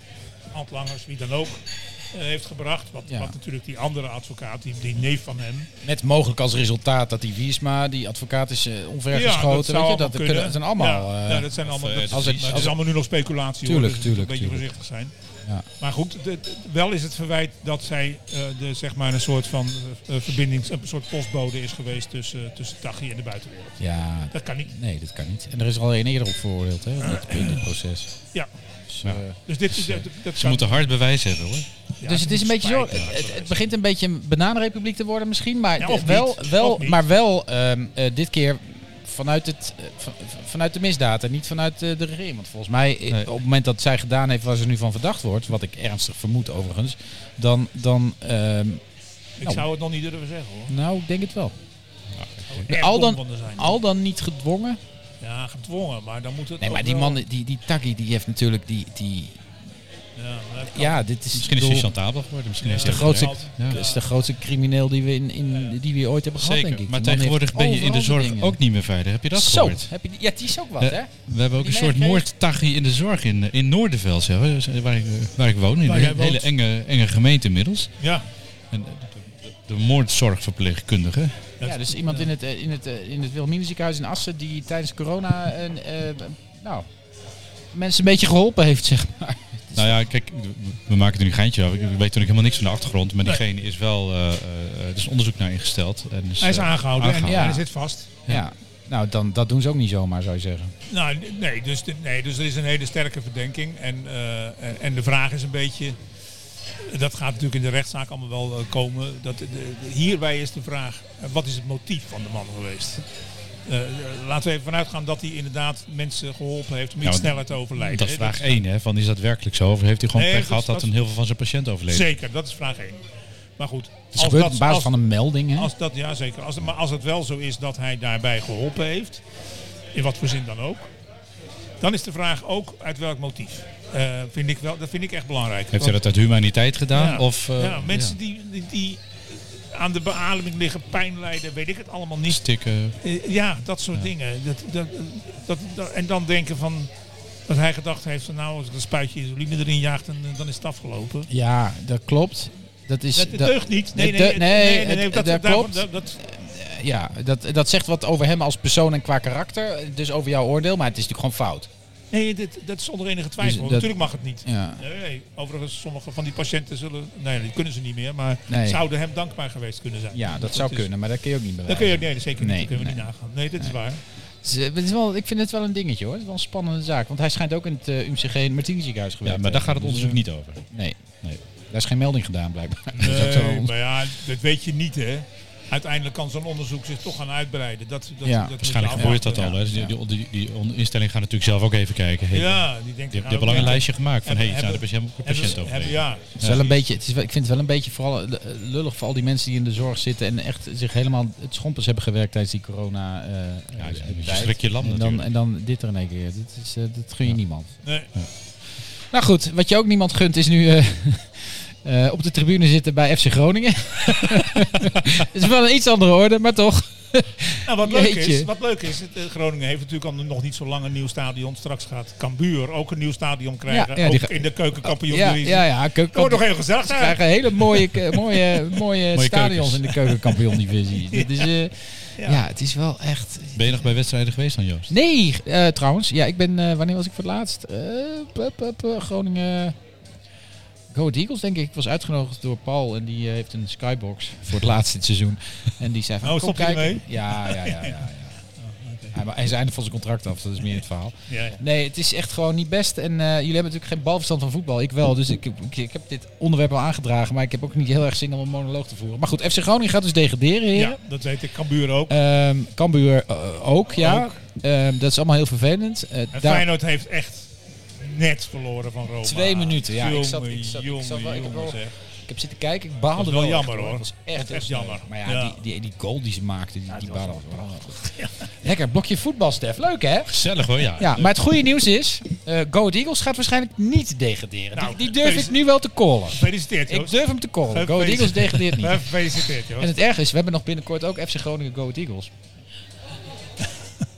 S5: Antlangers, wie dan ook, eh, heeft gebracht. Wat,
S3: Ja.
S5: wat natuurlijk die andere advocaat, die, die neef van hem,
S3: Met mogelijk als resultaat dat die Wiersma, die advocaat, is eh,
S5: zou
S3: onvergeschoten. weet je,
S5: allemaal
S3: dat, kunnen.
S5: kunnen.
S3: dat zijn allemaal...
S5: Ja,
S3: eh,
S5: ja, dat zijn allemaal.
S4: eh,
S5: Dat,
S4: als
S5: als
S4: het-
S5: het,
S3: als
S5: is allemaal nu nog speculatie. hoor,
S3: Tuurlijk,
S5: dus
S3: tuurlijk,
S5: Een beetje
S3: tuurlijk.
S5: voorzichtig zijn.
S3: Ja.
S5: Maar goed, de- de- wel is het verwijt dat zij eh, de, zeg maar een soort van eh, eh, verbindings, een soort postbode is geweest tussen, eh, tussen Tachi en de buitenwereld.
S3: ja,
S5: Dat kan niet.
S3: nee, dat kan niet. En er is er al één eerder op veroordeeld hè, in, dit, in dit proces.
S5: Ja.
S3: Dus, eh,
S5: Dus dit is. Dat, dat
S4: Ze
S5: kan-
S4: moeten hard bewijs hebben hoor.
S5: ja,
S3: dus
S5: ze
S3: het is een
S5: moeten
S3: beetje zo.
S5: spijt, ja,
S3: Het, het
S5: bewijs.
S3: begint een beetje een bananenrepubliek te worden misschien. Maar
S5: Ja,
S3: d-
S5: of
S3: wel,
S5: niet.
S3: wel,
S5: Of niet.
S3: maar wel ehm, eh, dit keer vanuit, het, eh, van- van- vanuit de misdaad en niet vanuit eh, de regering. Want volgens mij, eh,
S4: Nee.
S3: op het moment dat zij gedaan heeft waar ze nu van verdacht wordt, wat ik ernstig vermoed overigens, dan. dan ehm,
S5: Ik zou het nog niet durven zeggen hoor.
S3: nou, ik denk het wel.
S5: Zou erg
S3: al dan-
S5: dom van er zijn.
S3: Al dan niet gedwongen.
S5: Ja, gedwongen, maar dan moet het.
S3: Nee,
S5: ook
S3: maar die
S5: wel-
S3: man, die, die Taggy, die heeft natuurlijk die. die
S5: Ja, maar dat kan.
S3: ja, dit is,
S4: Misschien is
S3: bedoel,
S4: hij chantabel geworden. Misschien is
S5: Ja,
S4: hij
S3: de grootste-
S5: dat geldt.
S4: Ja.
S3: dat is de grootste crimineel die we, in, in, die we ooit hebben gehad, denk
S4: Zeker,
S3: ik.
S4: maar
S3: Die man heeft
S4: tegenwoordig ben je in de
S3: overal
S4: zorg
S3: dingen.
S4: ook niet meer veilig. Heb je dat
S3: Zo,
S4: gehoord?
S3: heb je, die- ja, die is ook wat,
S4: Eh,
S3: hè?
S4: We hebben ook een
S3: Die
S4: soort
S3: meegekregen?
S4: moordtagie in de zorg in, in Noorderveld, zeg, hè, waar, ik, waar ik woon. In
S5: Waar
S4: een
S5: jij
S4: hele
S5: woont.
S4: enge, enge gemeente inmiddels.
S5: Ja,
S4: En de, de, de moordzorgverpleegkundige.
S3: Ja, dus iemand in het, eh, in het, eh, in het Wilhelmina ziekenhuis in Assen die tijdens corona een, eh, nou, mensen een beetje geholpen heeft, zeg maar.
S4: Nou ja, kijk, we maken er nu een geintje af. Ik weet natuurlijk helemaal niks van de achtergrond. Maar diegene is wel, eh, eh, er is onderzoek naar ingesteld. En is,
S5: hij is
S4: eh,
S5: aangehouden, en-
S4: aangehouden.
S5: en
S3: Ja.
S5: hij zit vast.
S3: Ja. Nou, dan, dat doen ze ook niet zomaar, zou je zeggen.
S5: Nou, n- nee dus, de- nee, dus er is een hele sterke verdenking. En, eh, en, en de vraag is een beetje. Dat gaat natuurlijk in de rechtszaak allemaal wel eh, komen. Dat, de- de- hierbij is de vraag: eh, wat is het motief van de man geweest? Eh, laten we even vanuit gaan dat hij inderdaad mensen geholpen heeft om
S4: Ja,
S5: iets
S4: want
S5: sneller te overlijden.
S4: Dat is
S5: hè.
S4: vraag 1, hè? Van is dat werkelijk zo? Of heeft hij gewoon
S5: Nee,
S4: pech
S5: dat-
S4: gehad dat
S5: dat-
S4: een heel veel van zijn patiënten overleden?
S5: Zeker, dat is vraag 1. Maar goed,
S3: Het is gebeurd
S5: dat-
S3: op basis
S5: als-
S3: van een melding, hè?
S5: als dat, ja, zeker. Als, maar als het wel zo is dat hij daarbij geholpen heeft, in wat voor zin dan ook, Dan is de vraag ook uit welk motief. Eh, vind ik wel, dat vind ik echt belangrijk.
S4: Heeft hij dat uit humaniteit gedaan?
S5: Ja.
S4: Of, eh,
S5: ja, mensen
S4: ja,
S5: Die, die, die aan de beademing liggen, pijn lijden, weet ik het allemaal niet.
S4: stikken.
S5: Eh, ja, dat soort dingen. Dat, dat, dat, dat- en dan denken van dat hij gedacht heeft van nou als ik een spuitje isoline erin jaagt en, eh, dan is het afgelopen.
S3: Ja, dat klopt. Dat is.
S5: Dat, deugt niet. Nee,
S3: dat deugt-
S5: nee, nee,
S3: nee,
S5: nee, nee, nee,
S3: het-
S5: dat,
S3: dat
S5: daarvan-
S3: klopt.
S5: dat- dat-
S3: Ja, dat, dat zegt wat over hem als persoon en qua karakter. Dus over jouw oordeel, maar het is natuurlijk gewoon fout.
S5: nee, dit, dat is zonder enige twijfel.
S3: Dus dat-
S5: Natuurlijk mag het niet.
S3: Ja.
S5: Nee, nee. Overigens, sommige van die patiënten zullen, nee, die kunnen ze niet meer, maar
S3: Nee.
S5: zouden hem dankbaar geweest kunnen zijn.
S3: Ja, dat zou
S5: is-
S3: kunnen, maar dat kun je ook niet bewijzen.
S5: Dat kun je nee, zeker niet.
S3: Nee,
S5: dat kunnen we
S3: nee.
S5: niet nagaan. Nee, dit is waar.
S3: Het is, eh, het is wel, ik vind het wel een dingetje hoor. Het is wel een spannende zaak. Want hij schijnt ook in het eh, UMCG in het Martini ziekenhuis geweest.
S4: Ja,
S3: te
S4: maar daar gaat het
S3: hebben.
S4: onderzoek niet over.
S3: Nee. nee. Daar is geen melding gedaan blijkbaar. Dus dat zou
S5: Nee,
S3: ons-
S5: maar ja, dat weet je niet, hè. Uiteindelijk kan zo'n onderzoek zich toch gaan uitbreiden. Dat, dat,
S3: Ja,
S5: dat moet je
S4: Waarschijnlijk gebeurt
S5: afwachten.
S4: dat al. Hè? Dus die- Die, die, die on- instelling gaat natuurlijk zelf ook even kijken. Hey,
S5: Ja, die denkt...
S4: Die
S5: nou,
S4: hebben al een
S5: oké.
S4: lijstje gemaakt van, hé, hey,
S5: Hebben-
S4: zijn er best helemaal goed
S5: Hebben ze-
S4: patiënten over.
S5: hebben- Ja,
S3: Het is wel een beetje, het is wel, ik vind het wel een beetje vooral eh, lullig voor al die mensen die in de zorg zitten en echt zich helemaal het schompers hebben gewerkt tijdens die corona. eh,
S4: Ja,
S3: eh,
S4: je- je
S3: tijd.
S4: schrik je lam
S3: en dan,
S4: natuurlijk.
S3: en dan dit er in één keer. Dat, is, eh, dat gun je niemand.
S5: nee.
S3: Nou goed, wat je ook niemand gunt is nu eh, eh, op de tribune zitten bij FC Groningen. Het is wel een iets andere orde, maar toch.
S5: Nou, wat leuk is,
S3: Jeetje.
S5: wat leuk is het, eh, Groningen heeft natuurlijk al nog niet zo lang een nieuw stadion. Straks gaat Cambuur ook een nieuw stadion krijgen.
S3: Ja, ja, die
S5: ook
S3: ga-
S5: in de keukenkampioen.
S3: ja, ja, ja. Keuken,
S5: Dat wordt nog heel gezellig
S3: Ze
S5: zijn.
S3: krijgen hele mooie, ke- mooie, mooie,
S4: Mooie
S3: stadions
S4: keukens.
S3: in de keukenkampioen-divisie. Dat is, eh,
S5: Ja.
S3: ja. het is wel echt...
S4: Ben je nog bij wedstrijden geweest dan, Joost?
S3: Nee, eh, trouwens. Ja, ik ben... eh, wanneer was ik voor het laatst? Eh, pup, pup, pup, Groningen... Go Ahead Eagles, denk ik. Ik was uitgenodigd door Paul en die eh, heeft een skybox voor het laatste seizoen. En die zei van,
S5: Oh,
S3: kom
S5: stop je
S3: kijken.
S5: ermee? Oh,
S3: Ja, ja, ja. ja, ja. Hij- maar Hij is einde van zijn contract af, dat is meer het verhaal.
S5: Ja, ja.
S3: Nee, het is echt gewoon niet best. En eh, jullie hebben natuurlijk geen balverstand van voetbal. Ik wel. Dus ik, ik, ik heb dit onderwerp al aangedragen. Maar ik heb ook niet heel erg zin om een monoloog te voeren. Maar goed, FC Groningen gaat dus degraderen, heren.
S5: Ja, dat weet ik. Cambuur ook.
S3: Ehm, Cambuur eh, ook, ja.
S5: Ook.
S3: Ehm, dat is allemaal heel vervelend. Eh,
S5: En
S3: daar-
S5: Feyenoord heeft echt net verloren van Roma.
S3: Twee minuten, ja, ik zat- ik
S5: Jongen,
S3: zat- ik
S5: jongen,
S3: zat wel- ik heb
S5: jongen,
S3: wel-
S5: zeg.
S3: ik heb zitten kijken. Ik baalde
S5: Dat was wel
S3: echt,
S5: jammer, hoor.
S3: Dat was
S5: Dat
S3: echt,
S5: was echt
S3: heel
S5: jammer.
S3: sneu. Maar ja,
S5: Ja.
S3: Die, die, die goal die ze maakten, die, die baalde was prachtig. Lekker, blokje voetbal, Stef. Leuk, hè?
S4: Gezellig hoor, ja.
S3: Ja, maar het goede nieuws is, eh Go Ahead Eagles gaat waarschijnlijk niet degraderen.
S5: Nou,
S3: die, die durf
S5: deze-
S3: ik nu wel te callen.
S5: Gefeliciteerd,
S3: Ik
S5: Joost. Eh,
S3: durf hem te callen. Go Ahead Eagles degradeert niet.
S5: Gefeliciteerd,
S3: En
S5: Joost.
S3: het erg is, we hebben nog binnenkort ook FC Groningen Go Ahead Eagles.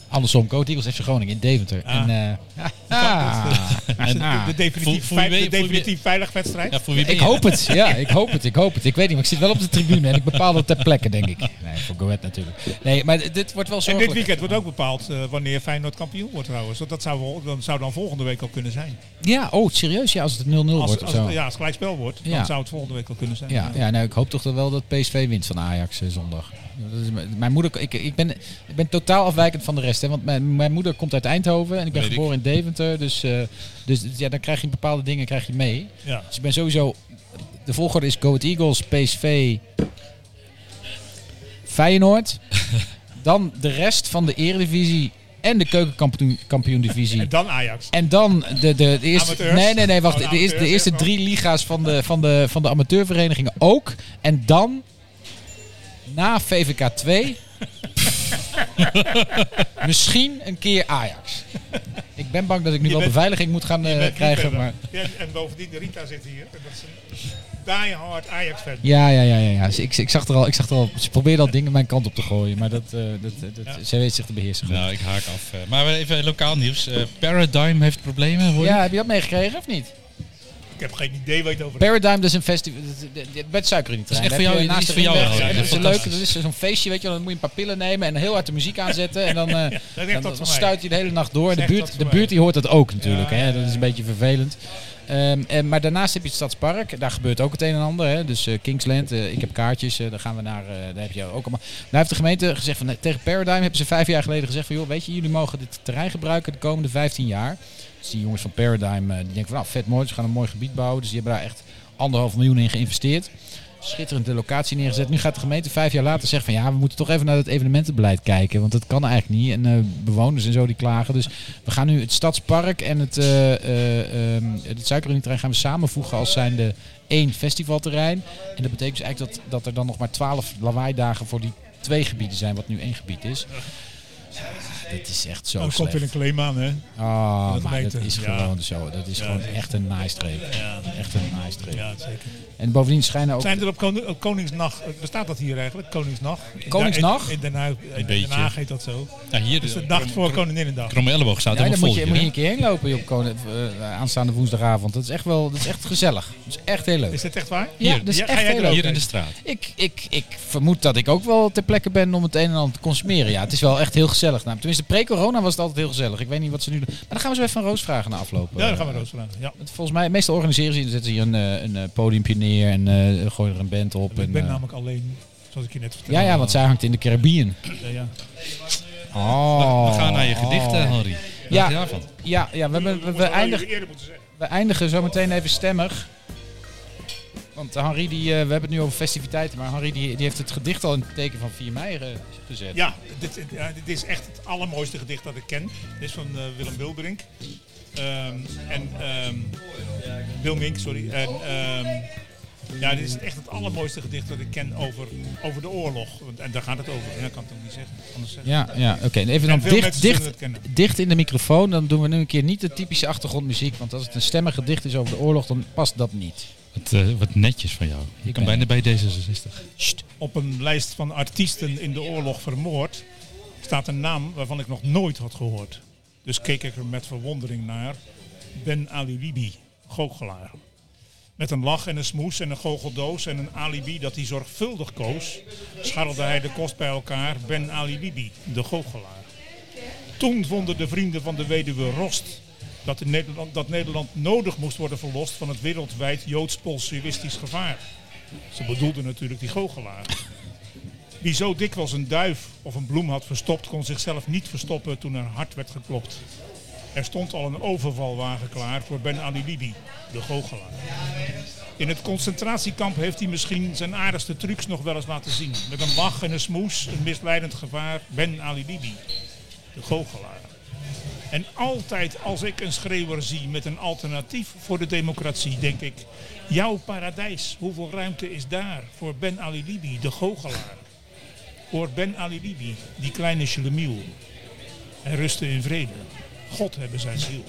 S3: Andersom, Go Ahead Eagles FC Groningen in Deventer.
S5: Ah.
S3: En, eh, ah,
S5: Is
S3: en,
S5: het
S3: ah.
S5: De, de
S4: Voel-
S5: definitief,
S4: voel je
S5: vei-
S4: mee-
S5: de
S4: voel je
S5: definitief veilig wedstrijd?
S4: Ja, voor wie ben
S3: Ik
S4: je?
S3: hoop het, ja, ik hoop het, ik hoop het. Ik weet niet, maar ik zit wel op de tribune en ik bepaal dat ter plekke, denk ik. Nee, voor Go Ahead natuurlijk. Nee, maar dit- dit wordt wel
S5: En dit
S3: zorgelijk.
S5: weekend wordt ook bepaald eh, wanneer Feyenoord kampioen wordt trouwens. Want Dat zou, wel, dan zou dan volgende week al kunnen zijn.
S3: Ja, oh, serieus? Ja, als het 0-0
S5: Als,
S3: wordt of
S5: als,
S3: zo.
S5: het- ja, als het gelijkspel wordt,
S3: Ja.
S5: dan zou het volgende week al kunnen zijn.
S3: Ja, ja nou, ik hoop toch wel dat PSV wint van Ajax eh, zondag. Dat is m- mijn moeder, ik, ik, ben, ik ben totaal afwijkend van de rest. Hè, want mijn, mijn moeder komt uit Eindhoven en ik ben
S4: Weet ik.
S3: geboren in Deventer. Dus, eh, dus ja, dan krijg je bepaalde dingen krijg je mee.
S5: Ja.
S3: Dus ik ben sowieso... De volgorde is Go Ahead Eagles, PSV, Feyenoord. dan de rest van de Eredivisie en de keukenkampioen kampioen divisie.
S5: En dan Ajax.
S3: En dan de, de, de eerste.
S5: Amateurs?
S3: Nee, nee, nee, wacht.
S5: Oh, de
S3: de, eerste, de
S5: amateurs,
S3: eerste
S5: ja.
S3: drie liga's van de, van, de, van de amateurverenigingen ook. En dan. Na VVK 2. misschien een keer Ajax. Ik ben bang dat ik nu
S5: Je
S3: wel
S5: bent-
S3: beveiliging moet gaan eh,
S5: Je bent
S3: krijgen.
S5: niet
S3: Maar...
S5: verder. Ja, en bovendien, de Rita zit hier. En dat is een diehard Ajax-fan.
S3: Ja, ja, ja, ja. ja. Dus Ik, ik, zag er al, ik zag er al. Ze probeerde al dingen mijn kant op te gooien. Maar dat, eh, dat, dat,
S5: Ja.
S3: ze weet zich te beheersen. goed.
S4: Nou, ik haak af. eh. Maar even lokaal nieuws. Eh, Paradigm heeft problemen, hoor je?
S3: Ja, heb je dat meegekregen of niet?
S5: Ik heb geen idee wat je het over Oh,
S3: Paradigm, dat is een festival. Met suiker in die trein.
S4: echt
S3: Daar
S4: voor
S3: heb
S4: jou-
S3: je
S4: die is voor jou
S3: ringweg-
S5: wel, ja.
S3: en Dat is een
S4: Ja,
S3: leuk. Dat is
S4: fantastisch.
S3: zo'n feestje, weet je wel. Dan moet je een paar pillen nemen en heel hard de muziek aanzetten. En dan, eh,
S5: dat
S3: dan, dan
S5: dat voor mij.
S3: stuit je de hele nacht door. En de
S5: Zeg dat
S3: buurt,
S5: voor
S3: de
S5: mij.
S3: buurt die hoort dat ook natuurlijk.
S5: Ja,
S3: hè.
S5: ja,
S3: Dat is
S5: ja.
S3: een beetje vervelend. Ehm, en, maar daarnaast heb je het Stadspark. Daar gebeurt ook het een en ander. Hè. Dus eh, Kingsland, eh, ik heb kaartjes. eh, daar gaan we naar. eh, daar heb je ook allemaal. Nou heeft de gemeente gezegd van, eh, tegen Paradigm hebben ze vijf jaar geleden gezegd van joh, weet je, jullie mogen dit terrein gebruiken de komende 15 jaar. Dus die jongens van Paradigm eh, die denken van nou vet mooi, ze gaan een mooi gebied bouwen. Dus die hebben daar echt anderhalf miljoen in geïnvesteerd. Schitterend de locatie neergezet. Nu gaat de gemeente vijf jaar later zeggen van ja, we moeten toch even naar het evenementenbeleid kijken. Want dat kan eigenlijk niet. En eh, bewoners en zo die klagen. Dus we gaan nu het stadspark en het, eh eh, ehm, het suikerunietrein gaan we samenvoegen als zijnde één festivalterrein. En dat betekent dus eigenlijk dat, dat er dan nog maar twaalf lawaaidagen voor die twee gebieden zijn, wat nu één gebied is. Ja, dat is echt zo
S5: Dan Oh, komt weer een
S3: slecht.
S5: claim aan, hè?
S3: Ah,
S5: Dat
S3: maar
S5: lijkt
S3: dat
S5: het,
S3: is
S5: ja.
S3: gewoon zo. Dat is gewoon echt een naaistreep. Echt een naaistreep.
S5: Ja, zeker.
S3: En bovendien schijnen ook...
S5: Zijn er op, Koning- op Koningsnacht, eh, bestaat dat hier eigenlijk? Koningsnacht? In
S3: Koningsnacht?
S5: Da- In, in Den Haag- in
S4: beetje.
S5: Den Haag heet dat zo.
S4: Nou, hier
S5: Dus de dag voor Koninginnedag.
S4: Kromme elleboog staat
S3: Ja, dan
S4: helemaal
S3: moet
S4: vol
S3: je,
S4: hier,
S3: moet je
S4: hè?
S3: een keer heen lopen joh, op Koning, eh, aanstaande woensdagavond. Dat is echt wel dat is echt gezellig. Dat is echt heel leuk.
S5: Is dit echt waar?
S3: Ja,
S4: Hier.
S3: dat is
S5: Ja, ga
S3: echt
S5: jij
S3: heel
S5: er ook
S3: leuk.
S4: Hier in de straat.
S3: Ik, ik, ik vermoed dat ik ook wel ter plekke ben om het een en ander te consumeren. Ja, het is wel echt heel gezellig. Nou, tenminste, pre-corona was het altijd heel gezellig. Ik weet niet wat ze nu doen. Maar dan gaan we zo even aan Roos vragen na aflopen.
S5: Ja, dan gaan we roos vragen. Ja.
S3: Want Volgens mij, meestal organiseren ze, zetten ze hier een, eh, een eh, podiumpje neer en eh, gooien er een band op. en,
S5: Ik ben
S3: eh,
S5: namelijk alleen, zoals ik je net vertelde.
S3: ja, ja, want zij hangt in de Caribbean.
S5: Ja, ja.
S3: Oh,
S4: we gaan naar je gedichten,
S3: oh.
S4: Henri. Wat
S3: Ja.
S4: ja. daarvan?
S3: Ja, ja we, hebben- we, we, eindigen, we eindigen zo meteen even stemmig. Want Henri, die, eh, we hebben het nu over festiviteiten, maar Henri die, die heeft het gedicht al in het teken van 4 mei eh, gezet.
S5: Ja, dit, dit- ja, dit is echt het allermooiste gedicht dat ik ken. Dit is van eh, Willem Wilbrink. Ehm, en ehm Wil Mink, sorry. En, ehm, ja, dit is echt het allermooiste gedicht dat ik ken over, over de oorlog. Want, en daar gaat het over. Ja, dat kan ik toch niet zeggen. Anders zeggen.
S3: Ja, ja oké. En Even dan
S5: veel
S3: dicht,
S5: mensen zullen
S3: dicht,
S5: het kennen.
S3: dicht in de microfoon. Dan doen we nu een keer niet de typische achtergrondmuziek. Want als het een stemmig gedicht is over de oorlog, dan past dat niet.
S4: Wat, eh, wat netjes van jou. Je kan
S3: ben-
S4: bijna bij D66.
S5: Op een lijst van artiesten in de oorlog vermoord staat een naam waarvan ik nog nooit had gehoord. Dus keek ik er met verwondering naar. Ben Ali Libi, goochelaar. Met een lach en een smoes en een goocheldoos en een alibi dat hij zorgvuldig koos, scharrelde hij de kost bij elkaar Ben Ali Libi, de goochelaar. Toen vonden de vrienden van de weduwe Rost dat, de Nederland, dat Nederland nodig moest worden verlost van het wereldwijd Joods-Polsuïstisch gevaar. Ze bedoelden natuurlijk die goochelaar. Wie zo dikwijls een duif of een bloem had verstopt, kon zichzelf niet verstoppen toen er hard werd geklopt. Er stond al een overvalwagen klaar voor Ben Ali Libi, de goochelaar. In het concentratiekamp heeft hij misschien zijn aardigste trucs nog wel eens laten zien. Met een lach en een smoes, een misleidend gevaar, Ben Ali Libi, de goochelaar. En altijd als ik een schreeuwer zie met een alternatief voor de democratie, denk ik... Jouw paradijs, hoeveel ruimte is daar voor Ben Ali Libi, de goochelaar? Hoor Ben Ali Libi, die kleine Shelemiel. En rusten in vrede. God hebben zijn ziel.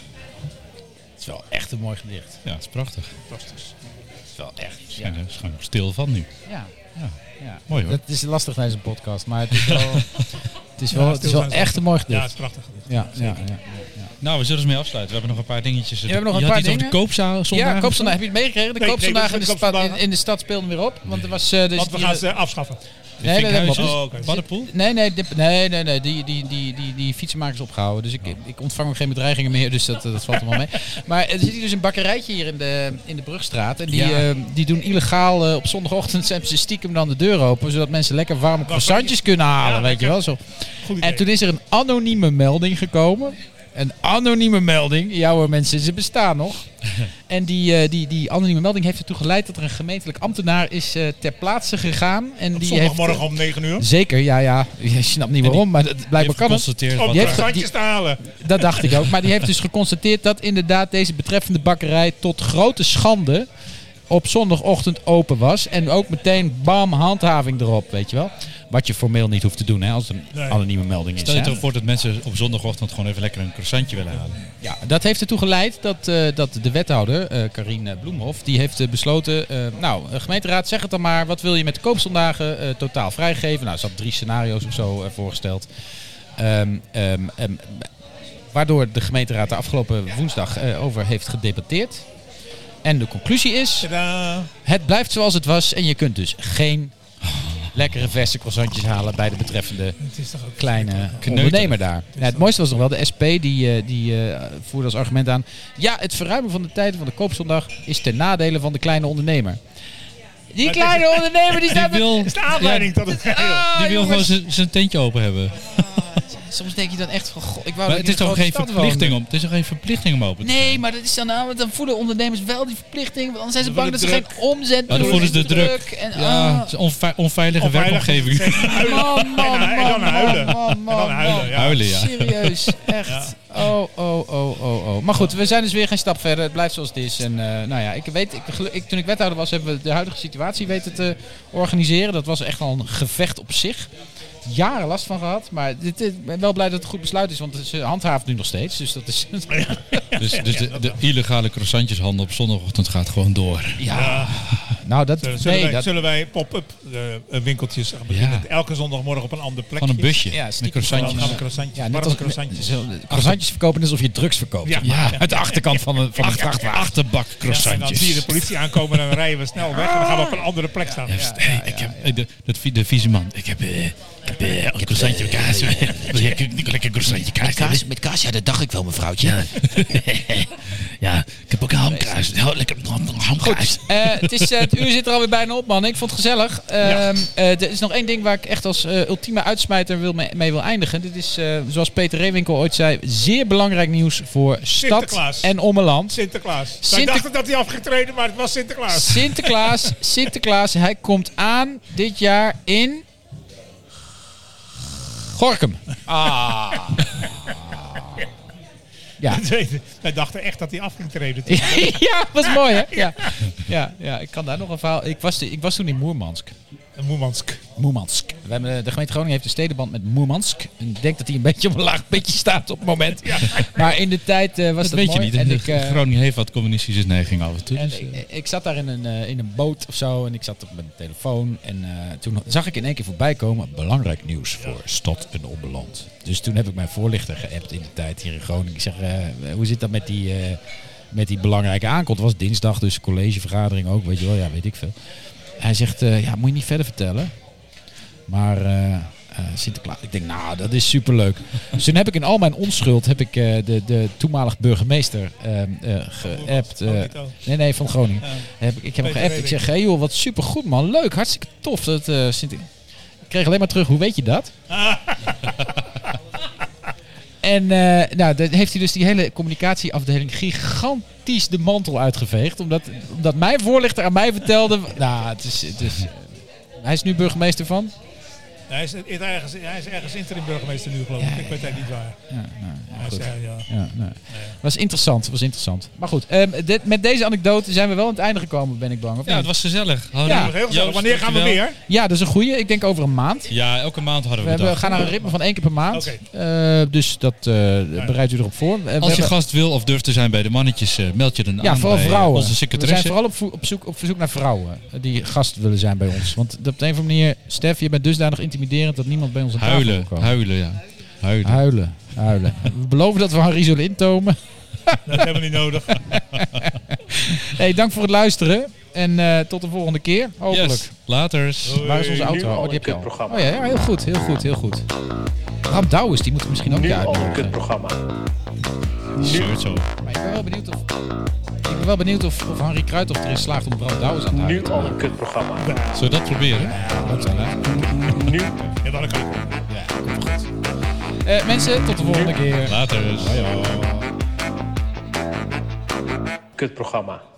S3: Het is wel echt een mooi gedicht.
S4: Ja, het is prachtig.
S5: Fantastisch.
S3: Het is wel echt.
S4: Ja. daar is gewoon stil van nu.
S3: Ja.
S4: Ja.
S3: ja.
S4: Mooi hoor.
S3: Dat is lastig tijdens een podcast. Maar het is wel, het is wel, het is wel echt een mooi
S5: Ja, het is
S3: gedicht.
S5: prachtig. gedicht.
S3: Ja, ja, ja. ja.
S4: Nou, we zullen eens mee afsluiten. We hebben nog een paar dingetjes. We
S3: hebben nog een paar dingen.
S4: de koopzaal zondag.
S3: Ja, koopzondag. Heb je het meegekregen? De
S5: Nee, nee,
S3: koopzondag
S5: dat
S3: in,
S5: is
S3: de
S5: de
S3: stad- in,
S5: koopzondag.
S3: in de stad speelde hem weer op. Want er was... eh, dus
S5: Want we
S3: die-
S5: gaan ze afschaffen.
S3: Nee, dat hebben we al.
S5: Oh,
S4: Oh,
S5: oké.
S4: Paddenpoel?
S3: Nee, nee, de- nee, nee, nee. Die, die, die, die, die fietsenmakers opgehouden. Dus ik,
S5: Oh.
S3: ik ontvang ook geen bedreigingen meer, dus dat, dat valt allemaal mee. Maar er zit hier dus een bakkerijtje hier in de, in de Brugstraat. En die,
S4: Ja.
S3: eh, die doen illegaal eh, op zondagochtend zetten ze stiekem dan de deur open. Zodat mensen lekker warme croissantjes kunnen halen, weet je wel. Zo.
S5: Goed idee.
S3: En toen is er een anonieme melding gekomen. Een anonieme melding. Ja hoor mensen, ze bestaan nog. En die, eh, die, die anonieme melding heeft ertoe geleid dat er een gemeentelijk ambtenaar is eh, ter plaatse gegaan. En die heeft, eh,
S5: Zondagmorgen om 9 uur.
S3: Zeker, ja, ja. Je snapt niet waarom, maar dat, blijkbaar kan het. Oh,
S4: geconstateerd
S5: Om
S4: wat
S3: je
S5: de
S3: hebt-
S4: er...
S5: randjes te halen.
S3: Dat dacht ik ook. Maar die heeft dus geconstateerd dat inderdaad deze betreffende bakkerij tot grote schande op zondagochtend open was. En ook meteen bam, handhaving erop, weet je wel. Wat je formeel niet hoeft te doen, hè, als het een
S5: Nee.
S3: anonieme melding is.
S4: Stel je
S3: hè.
S4: toch voor dat mensen op zondagochtend gewoon even lekker een croissantje willen halen.
S3: Ja, dat heeft ertoe geleid dat, eh, dat de wethouder, eh Karine Bloemhof, die heeft eh, besloten... eh, nou, eh, gemeenteraad, zeg het dan maar. Wat wil je met de koopzondagen eh, totaal vrijgeven? Nou, ze had drie scenario's of zo eh, voorgesteld. Ehm, ehm, ehm, waardoor de gemeenteraad de afgelopen woensdag eh, over heeft gedebatteerd. En de conclusie is,
S5: Tadaa.
S3: het blijft zoals het was. En je kunt dus geen lekkere verse croissantjes halen bij de betreffende
S5: Het is toch ook
S3: kleine ondernemer daar. Ja, het mooiste was nog wel de SP, die, eh, die eh, voerde als argument aan... Ja, het verruimen van de tijden van de koopzondag is ten nadele van de kleine ondernemer. Die kleine ondernemer die
S4: Die
S3: staat met...
S4: wil,
S5: Dat is de aanleiding tot het
S3: Ah,
S4: die wil gewoon
S3: jongens.
S4: zijn- zijn tentje open hebben.
S3: Soms denk je dan echt van... Goh, ik wou
S4: Maar
S3: dat
S4: het
S3: ik in
S4: is
S3: een
S4: toch
S3: grote
S4: geen
S3: stad
S4: verplichting
S3: woonde.
S4: om, het is toch geen verplichting om open te
S3: Nee,
S4: zijn?
S3: maar dat is dan, nou, want dan voelen ondernemers wel die verplichting. Want anders zijn ze
S5: Dan
S3: bang dat
S5: wordt
S3: ze
S5: het
S3: geen omzet
S4: Ja, dan
S3: doen
S4: voelen ze de
S3: en
S4: druk.
S3: En,
S4: Ja,
S3: ah.
S4: het is een onve- onveilige
S5: Onveilig.
S4: werkomgeving.
S3: Man, man,
S5: En dan
S3: man,
S5: huilen.
S3: man, man,
S5: En dan
S3: man.
S5: huilen, ja.
S4: Huilen, ja.
S3: Serieus, echt. Oh, oh, oh, oh, oh. Maar goed, we zijn dus weer geen stap verder. Het blijft zoals het is. En eh, nou ja, ik weet, ik, gelu- ik, toen ik wethouder was, hebben we de huidige situatie weten te organiseren. Dat was echt al een gevecht op zich. jaren last van gehad. Maar dit, dit- ik ben wel blij dat het een goed besluit is, want ze handhaaft nu nog steeds. Dus dat is.
S4: Dus, dus de, de illegale croissantjeshandel op zondagochtend gaat gewoon door.
S3: Ja. Nou, dat.
S5: Eh, Zullen,
S3: nee,
S5: wij,
S3: dat
S5: zullen wij pop-up eh, winkeltjes gaan beginnen?
S4: Ja.
S5: Elke zondagmorgen op een ander plekje.
S4: Van een busje
S3: Ja,
S4: met
S3: stiekem
S5: Dan
S4: croissantjes.
S5: gaan we croissantjes.
S3: ja,
S5: Ja,
S3: net als
S5: croissantjes.
S3: zo- croissantjes verkopen is alsof je drugs verkoopt.
S5: Ja.
S3: zeg maar.
S4: Ja.
S3: Uit de achterkant van een, van een vrachtwagen.
S4: Achterbak
S5: Ja, en dan zie je de
S4: croissantjes.
S5: politie aankomen en dan rijden we snel weg. En dan gaan we op een andere plek staan. Ja,
S4: Hey, ik heb, eh, de, dat vie- de vieze man. Ik heb, eh, ik heb eh, een croissantje met kaas. Wil jij een lekker croissantje kaas? hebben?
S8: Kaas, met kaas, ja, dat dacht ik wel, mevrouwtje.
S4: Ja, ik heb ook een hamkaas. Ja, Lekker ham- hamkaas.
S3: Eh, het, is, eh, het uur zit er alweer bijna op, man. Ik vond het gezellig. Ehm, eh, er is nog één ding waar ik echt als eh, ultieme uitsmijter wil mee, mee wil eindigen. Dit is, eh, zoals Peter Reewinkel ooit zei, zeer belangrijk nieuws voor stad
S5: Sinterklaas.
S3: en ommeland.
S5: Sinterklaas. Wij
S3: Sinter-
S5: dachten dat hij afgetreden, maar het was Sinterklaas.
S3: Sinterklaas, Sinterklaas, hij komt aan dit jaar in... Gorkum. Ah. Ja.
S5: Wij dachten echt dat hij af ging treden.
S3: ja, was mooi hè? Ja. Ja, ja, ik kan daar nog een verhaal... Ik was, ik was toen in Moermansk.
S5: Moemansk.
S3: Moermansk. We hebben, eh, de gemeente Groningen heeft een stedenband met Moermansk. En ik denk dat hij een beetje op een laag pitje staat op het moment. Maar in de tijd eh, was
S4: Dat
S3: dat,
S4: weet je
S3: mooi.
S4: niet.
S3: En ik, eh,
S4: Groningen heeft wat communistische neigingen af en toe.
S3: en
S4: dus, eh.
S3: ik, ik zat daar in een, eh, in een boot of zo en ik zat op mijn telefoon. En eh, toen zag ik in één keer voorbij komen, belangrijk nieuws voor stad en omland. Dus toen heb ik mijn voorlichter geappt in de tijd hier in Groningen. Ik zeg, eh, hoe zit dat met die, eh, met die belangrijke aankomst? Het was dinsdag, dus collegevergadering ook, weet je wel, ja, weet ik veel. Hij zegt, eh, ja, moet je niet verder vertellen. Maar eh, eh, Sinterklaas, ik denk, nou, dat is superleuk. Dus toen heb ik in al mijn onschuld heb ik, eh, de, de toenmalig burgemeester ehm eh, geappt.
S5: Oh,
S3: eh,
S5: niet ook.
S3: nee, nee, van Groningen.
S5: Ja.
S3: Heb ik, ik heb hem
S5: Peter
S3: geappt. Ik
S5: Reding.
S3: zeg, hey joh, wat supergoed man. Leuk, hartstikke tof. Dat, eh, Sinter- Ik kreeg alleen maar terug, hoe weet je dat? en eh, nou, dat heeft hij dus die hele communicatieafdeling gigantisch de mantel uitgeveegd. Omdat, omdat mijn voorlichter aan mij vertelde... nou, het is... Het is eh, hij is nu burgemeester van?
S5: Hij is, ergens, hij is ergens interim burgemeester nu, geloof ik.
S3: Ja,
S5: ik weet eigenlijk niet waar.
S3: Ja, nou,
S5: Hij is, eh, ja.
S3: Ja, nee. Was interessant, was interessant. Maar goed, ehm, dit, met deze anekdote zijn we wel aan het einde gekomen, ben ik bang. Of
S4: Ja, het
S3: niet?
S4: was gezellig. Hallo.
S3: Ja.
S5: Heel gezellig.
S4: Joost,
S5: Wanneer gaan we
S4: dankjewel.
S5: weer?
S3: ja, dat is een goeie. Ik denk over een maand.
S4: Ja, elke maand hadden
S3: We,
S4: we, dat.
S3: hebben- gaan naar een ritme van één keer per maand.
S5: Oké.
S3: Eh, dus dat eh, bereidt u erop voor. Eh, we
S4: Als je
S3: hebben-
S4: gast wil of durft te zijn bij de mannetjes, eh, meld je dan aan
S3: ja, vooral
S4: bij eh,
S3: vrouwen.
S4: onze
S3: we zijn
S4: secretaresse.
S3: vooral op, vo- op, zoek, op verzoek naar vrouwen eh, die gast willen zijn bij ons. Want op de een of andere manier, Stef, je bent dusdanig intimiderend dat niemand bij ons aan tafel wil
S4: Huilen,
S3: komen.
S4: huilen, ja. Huilen.
S3: Huilen, huilen. We beloven dat we Harry zullen intomen.
S5: Dat hebben we niet nodig.
S3: Hey, dank voor het luisteren. En eh, tot de volgende keer, hopelijk.
S4: Yes, laters.
S3: Waar is onze auto? Oh, die heb je al. Oh ja, ja, heel goed, heel goed, heel goed. Bram Douwens, die moeten we misschien ook
S9: Nu
S3: weer
S9: al een
S3: uitnodigen.
S9: kutprogramma.
S4: Shirt zo.
S3: Maar ik ben wel benieuwd of... Ik ben wel benieuwd of, of Henry Kruithof erin slaagt om Bram Douwens aan te houden.
S9: Nu al een kutprogramma.
S4: Zullen we dat proberen?
S9: Nu
S5: Ja, dan kan ik.
S3: Eh, mensen, tot de volgende keer.
S4: Laters.
S9: kutprogramma.